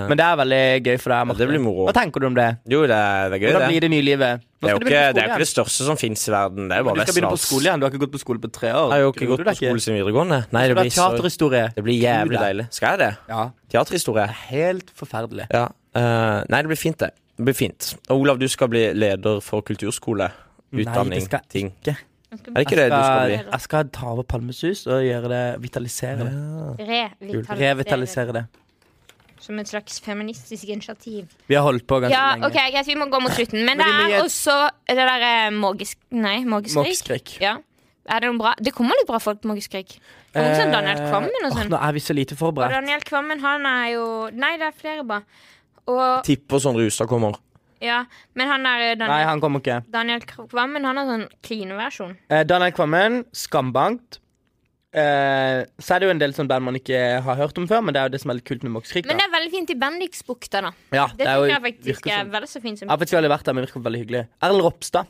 Speaker 2: Men det er veldig gøy for deg. Martin.
Speaker 3: det blir moro.
Speaker 2: Hva tenker du om det?
Speaker 3: Jo, det er, det er gøy,
Speaker 2: Hvordan
Speaker 3: det.
Speaker 2: blir det nye livet? Nå
Speaker 3: Det er
Speaker 2: skal du
Speaker 3: jo ikke
Speaker 2: begynne på
Speaker 3: det, er
Speaker 2: skole
Speaker 3: ikke det største som fins i verden. Det er jo
Speaker 2: igjen.
Speaker 3: bare
Speaker 2: Du skal begynne på skole
Speaker 3: Vestlands.
Speaker 2: igjen. Du har ikke gått på skole på tre år.
Speaker 3: Jeg har jo ikke
Speaker 2: Gjorde
Speaker 3: gått
Speaker 2: du
Speaker 3: på
Speaker 2: det ikke?
Speaker 3: skole siden videregående. Nei,
Speaker 2: Du
Speaker 3: det
Speaker 2: har
Speaker 3: blir, så,
Speaker 2: teaterhistorie.
Speaker 3: det blir jævlig deilig. Skal jeg det?
Speaker 2: Ja.
Speaker 3: Teaterhistorie?
Speaker 2: Helt forferdelig.
Speaker 3: Ja. eh, nei, det blir fint, det. Det blir fint. Og Olav, du skal bli leder for kulturskole. Utdanning.
Speaker 2: Nei, det skal jeg
Speaker 3: ting.
Speaker 2: ikke.
Speaker 3: Er det ikke det du skal bli?
Speaker 2: Jeg, jeg skal ta over Palmesus og gjøre det vitalisere det.
Speaker 1: Revitalisere.
Speaker 2: Revitalisere det.
Speaker 1: Som et slags feministisk initiativ.
Speaker 2: Vi har holdt på ganske
Speaker 1: Ja,
Speaker 2: lenge.
Speaker 1: ok, greit, vi må gå mot slutten. Men,
Speaker 2: Men vi må
Speaker 1: det
Speaker 2: gi
Speaker 1: er
Speaker 2: et-
Speaker 1: også det derre magisk... Nei, magiskrik.
Speaker 2: Måkskrik.
Speaker 1: Ja. Er det noe bra? Det kommer litt bra folk på magiskrik. Noen sånn Daniel Kvammen og
Speaker 2: Eh, Åh,
Speaker 1: sånn.
Speaker 2: Nå er vi så lite
Speaker 1: Og
Speaker 2: forberedt.
Speaker 1: Daniel Kvammen, han er jo Nei, det er flere bra. Og
Speaker 3: Tipper sånn Rustad kommer.
Speaker 1: Ja, men han er eh,
Speaker 2: Nei,
Speaker 1: Daniel,
Speaker 2: han kommer ikke.
Speaker 1: Daniel Kvam, men han har sånn clean versjon.
Speaker 2: Eh, Daniel Kvammen, skambankt. Eh, så er det jo en del sånn band man ikke har hørt om før, men det er jo det som er litt kult med Mox Krik. da.
Speaker 1: Men det er veldig fint i Bendiksbukta, da.
Speaker 2: ja,
Speaker 1: Det, det
Speaker 2: jo-
Speaker 1: jeg faktisk
Speaker 2: virker
Speaker 1: er
Speaker 2: som-
Speaker 1: vel så fint som
Speaker 2: Jeg har faktisk aldri vært der, men virker veldig hyggelig. Erlend Ropstad.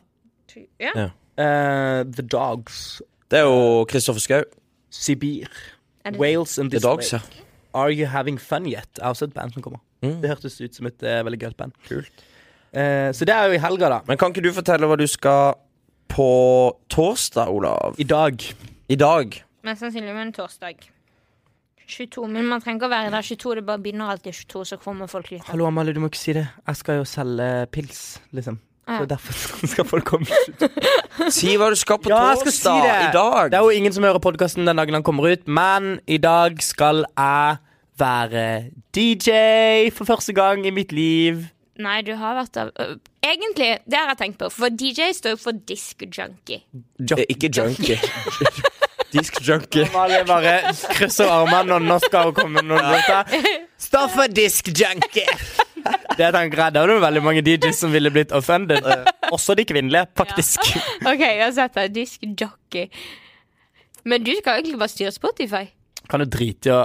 Speaker 1: ja.
Speaker 2: eh, the Dogs.
Speaker 3: Det er jo Kristoffer Schau.
Speaker 2: Sibir.
Speaker 1: Er det-
Speaker 2: Wales and
Speaker 3: The
Speaker 2: This
Speaker 3: Dogs,
Speaker 2: Way.
Speaker 3: ja.
Speaker 2: Are You Having Fun Yet? Er også et band som kommer. Det hørtes ut som et eh, veldig gøyalt band. Eh, så det er jo i helga, da.
Speaker 3: Men kan ikke du fortelle hva du skal på torsdag, Olav?
Speaker 2: I dag.
Speaker 3: I dag.
Speaker 1: Mest sannsynlig med en torsdag. 22, Men man trenger ikke å være der 22, det bare begynner alltid 22, så kommer folk litt.
Speaker 2: Hallo, Amalie, du må ikke si det. Jeg skal jo selge pils, liksom.
Speaker 1: Ah, ja.
Speaker 2: Så derfor skal folk komme.
Speaker 3: Si hva du skal på
Speaker 2: Ja, jeg skal
Speaker 3: torsdag.
Speaker 2: si det.
Speaker 3: I dag.
Speaker 2: Det er jo ingen som hører podkasten den dagen han kommer ut, men i dag skal jeg være DJ for første gang i mitt liv.
Speaker 1: Nei, du har vært der øh, Egentlig, det har jeg tenkt på, for DJ står jo for disk junkie.
Speaker 3: Eh, Ikke junkie. Disk junkie.
Speaker 2: Amalie bare krysser armene, og nå skal hun komme med noen låter. Stå for disk junkie! Det tenker jeg, Det var det veldig mange DJs som ville blitt offended. Også de kvinnelige, faktisk.
Speaker 1: OK, jeg har sett deg. Disk jockey. Men du skal egentlig bare styre Spotify.
Speaker 2: Kan du drite i å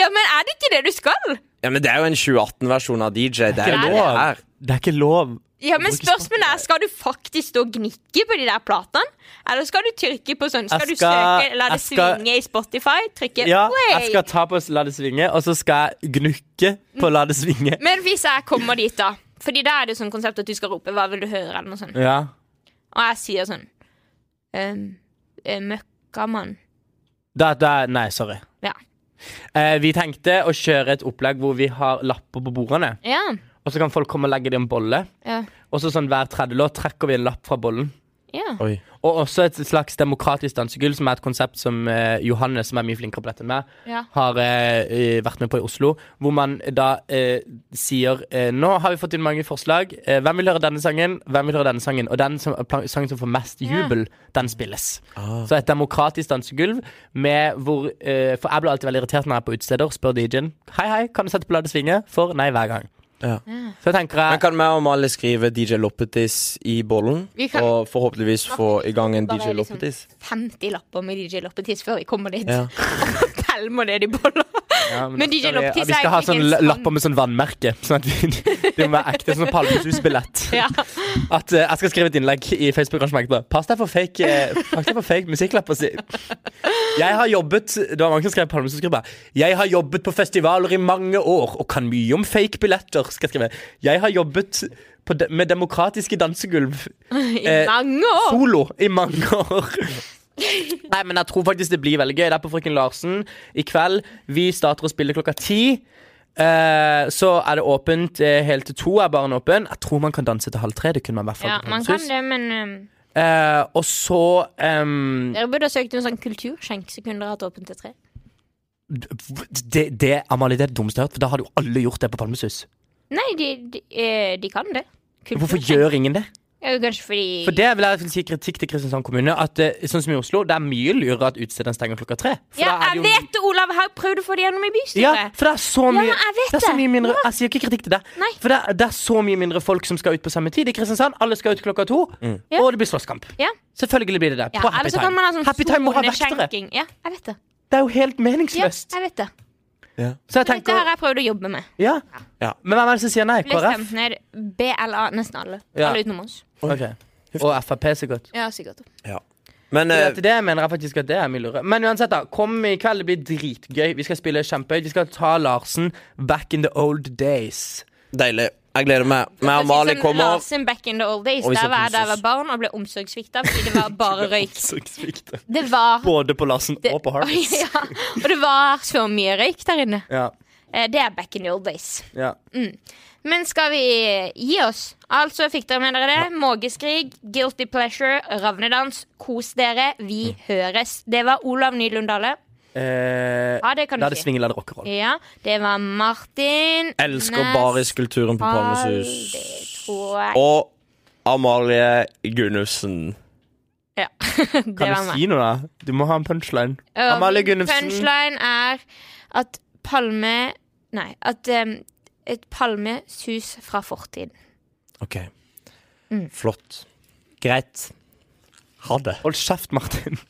Speaker 1: Ja, men er det ikke det du skal?
Speaker 3: Ja, men det er jo en 2018-versjon av DJ. Det er
Speaker 2: Ikke
Speaker 3: jo det
Speaker 2: lov.
Speaker 3: her.
Speaker 2: Det er ikke lov.
Speaker 1: Ja, men
Speaker 2: Bruker
Speaker 1: spørsmålet er, Skal du faktisk stå og gnikke på de der platene? Eller skal du trykke på sånn? Skal
Speaker 2: Jeg
Speaker 1: du
Speaker 2: skal-
Speaker 1: søke, la det
Speaker 2: jeg skal-
Speaker 1: svinge i Spotify? Trykke
Speaker 2: Ja, jeg
Speaker 1: play?
Speaker 2: skal ta på La det svinge, og så skal jeg gnukke på La det svinge.
Speaker 1: Men hvis jeg kommer dit, da Fordi da er det sånn konsept at du skal rope 'hva vil du høre?' eller noe sånt.
Speaker 2: Ja.
Speaker 1: Og jeg sier sånn ehm, eh, Møkkamann.
Speaker 2: Da, da, nei, sorry.
Speaker 1: Ja.
Speaker 2: Eh, vi tenkte å kjøre et opplegg hvor vi har lapper på bordene.
Speaker 1: Ja.
Speaker 2: Og så kan folk komme og legge det i en bolle.
Speaker 1: ja.
Speaker 2: Og så sånn hver tredje låt trekker vi en lapp fra bollen.
Speaker 1: ja.
Speaker 2: Og også et slags demokratisk dansegulv, som er et konsept som eh, Johannes, som er mye flinkere på dette enn meg,
Speaker 1: Ja.
Speaker 2: har eh, eh, vært med på i Oslo. Hvor man da eh, sier eh, Nå har vi fått inn mange forslag. Eh, hvem vil høre denne sangen? Hvem vil høre denne sangen? Og den som, plan- sangen som får mest jubel, den spilles. Så et demokratisk dansegulv med hvor eh, For jeg blir alltid veldig irritert når jeg er på utesteder. Spør DJ-en Hei, hei, kan du sette på La det svinge? For nei hver gang.
Speaker 3: Ja.
Speaker 2: Så tenker
Speaker 3: Men
Speaker 2: jeg
Speaker 3: kan vi og Mali skrive DJ Loppetis i bollen?
Speaker 1: Vi kan-
Speaker 3: Og forhåpentligvis få i gang en
Speaker 1: Bare
Speaker 3: DJ
Speaker 1: liksom-
Speaker 3: Loppetis?
Speaker 1: 50 lapper med DJ Loppetiss før vi kommer dit.
Speaker 3: Ja.
Speaker 1: Og tell må det de boller.
Speaker 2: Ja,
Speaker 1: Men
Speaker 2: da
Speaker 1: DJ
Speaker 2: skal vi-
Speaker 1: Loptis
Speaker 2: Vi
Speaker 1: er
Speaker 2: skal ha
Speaker 1: ikke
Speaker 2: sånn
Speaker 1: en
Speaker 2: la-
Speaker 1: sånn-
Speaker 2: lapper med sånn vannmerke. Sånn at vi, Det må være ekte sånn Palmesus-billett.
Speaker 1: Ja.
Speaker 2: At eh, Jeg skal skrive et innlegg i Facebook-arrangementet. bare, Pass deg for fake, eh, pass deg for fake musikklapper. Si. Jeg har jobbet Det var mange som skrev Palmesus-gruppa. Jeg har jobbet på festivaler i mange år og kan mye om fake billetter. Skal jeg skrive. Jeg har jobbet på de med demokratiske dansegulv
Speaker 1: sånn I
Speaker 2: Eh,
Speaker 1: mange år.
Speaker 2: solo i mange år. Nei, men jeg tror faktisk det blir veldig gøy. Det er på Frøken Larsen i kveld. Vi starter å spille klokka ti. Eh, så er det åpent eh, helt til to. er baren åpen Jeg tror man kan danse til halv tre. Det kunne man i hvert fall
Speaker 1: Ja,
Speaker 2: på
Speaker 1: man kan
Speaker 2: Konsensus.
Speaker 1: det, men um,
Speaker 2: Eh, Og så ehm,
Speaker 1: dere burde ha søkt en sånn kulturskjenk, så kunne dere hatt åpent til tre.
Speaker 2: det, det, Amalie, det er det dummeste jeg har hørt, for da hadde jo alle gjort det på Palmesus.
Speaker 1: Nei, de, de, eh, de kan det.
Speaker 2: Hvorfor gjør ingen det?
Speaker 1: Ja, Kanskje fordi
Speaker 2: For det vil jeg si kritikk til Kristiansand kommune. At eh, sånn som i Oslo, det er mye lurere at utestedene stenger klokka tre. For
Speaker 1: Ja,
Speaker 2: da er
Speaker 1: jeg
Speaker 2: det jo
Speaker 1: vet det, Olav! Jeg har prøvd å få det gjennom i
Speaker 2: Ja,
Speaker 1: bystyret.
Speaker 2: for det er så mye
Speaker 1: men jeg vet
Speaker 2: det er så
Speaker 1: det.
Speaker 2: mye mindre altså, Jeg sier ikke kritikk til deg.
Speaker 1: Nei.
Speaker 2: For det er, det er så mye mindre folk som skal ut på samme tid i Kristiansand. Alle skal ut klokka to, og det blir slåsskamp.
Speaker 1: Ja.
Speaker 2: Selvfølgelig blir det det.
Speaker 1: Ja,
Speaker 2: på
Speaker 1: eller
Speaker 2: happy
Speaker 1: så kan
Speaker 2: time.
Speaker 1: man ha sånn
Speaker 2: happy time må ha vektere.
Speaker 1: soneskjenking. Ja, jeg vet det.
Speaker 2: Det er jo helt
Speaker 1: Ja,
Speaker 2: meningsløst.
Speaker 1: jeg vet det.
Speaker 2: Så jeg
Speaker 1: Dette
Speaker 2: tenker
Speaker 1: har jeg prøvd å jobbe med.
Speaker 2: ja.
Speaker 3: Ja.
Speaker 2: Men hvem er det som sier nei?
Speaker 1: Ble
Speaker 2: KrF?
Speaker 1: stemt ned BLA, nesten alle.
Speaker 2: Ja.
Speaker 1: Alle utenom oss.
Speaker 2: Ok. Og Frp, sikkert.
Speaker 1: Ja, sikkert.
Speaker 3: Men
Speaker 2: Så
Speaker 3: eh,
Speaker 2: det- Det mener jeg faktisk at det er mye lurere. Men uansett, da. Kom i kveld. Det blir dritgøy. Vi skal spille kjempehøyt. Vi skal ta Larsen back in the old days.
Speaker 3: deilig. Jeg gleder meg. Vi og
Speaker 1: Sånn
Speaker 3: Mali
Speaker 1: som
Speaker 3: kommer.
Speaker 1: Larsen back in the old days.
Speaker 3: Og vi
Speaker 1: Der
Speaker 3: skal
Speaker 1: var jeg da jeg
Speaker 3: kose
Speaker 1: var barn og ble omsorgssvikta fordi det var bare røyk.
Speaker 2: Omsorgssvikt.
Speaker 1: Det var
Speaker 2: Både på Larsen
Speaker 1: det,
Speaker 2: og på Harvey.
Speaker 1: ja, Og det var så mye røyk der inne.
Speaker 2: Ja.
Speaker 1: Eh, Det er back in the old days.
Speaker 2: ja.
Speaker 1: Men skal vi gi oss? Altså fikk dere med dere det. Mågeskrig, guilty pleasure, ravnedans. Kos dere. Vi
Speaker 2: Mm.
Speaker 1: høres. Det var Olav Nylund Dale.
Speaker 2: Eh,
Speaker 1: Ja, det kan du
Speaker 2: La det
Speaker 1: si.
Speaker 2: svinge, la det rockeroll.
Speaker 1: Ja, det var Martin.
Speaker 3: Elsker bariskulturen på Palmesus.
Speaker 1: Det tror jeg.
Speaker 3: Og Amalie Gunnufsen.
Speaker 1: Ja. det
Speaker 2: Kan
Speaker 1: var
Speaker 2: du
Speaker 1: meg.
Speaker 2: si noe, da? Du må ha en punchline.
Speaker 1: Og
Speaker 2: Amalie
Speaker 1: min
Speaker 2: Gunnufsen.
Speaker 1: Punchline er at Palme Nei, at um, et palmesus fra fortiden.
Speaker 3: OK.
Speaker 1: Mm.
Speaker 3: Flott. Greit. Ha det.
Speaker 2: Hold kjeft, Martin.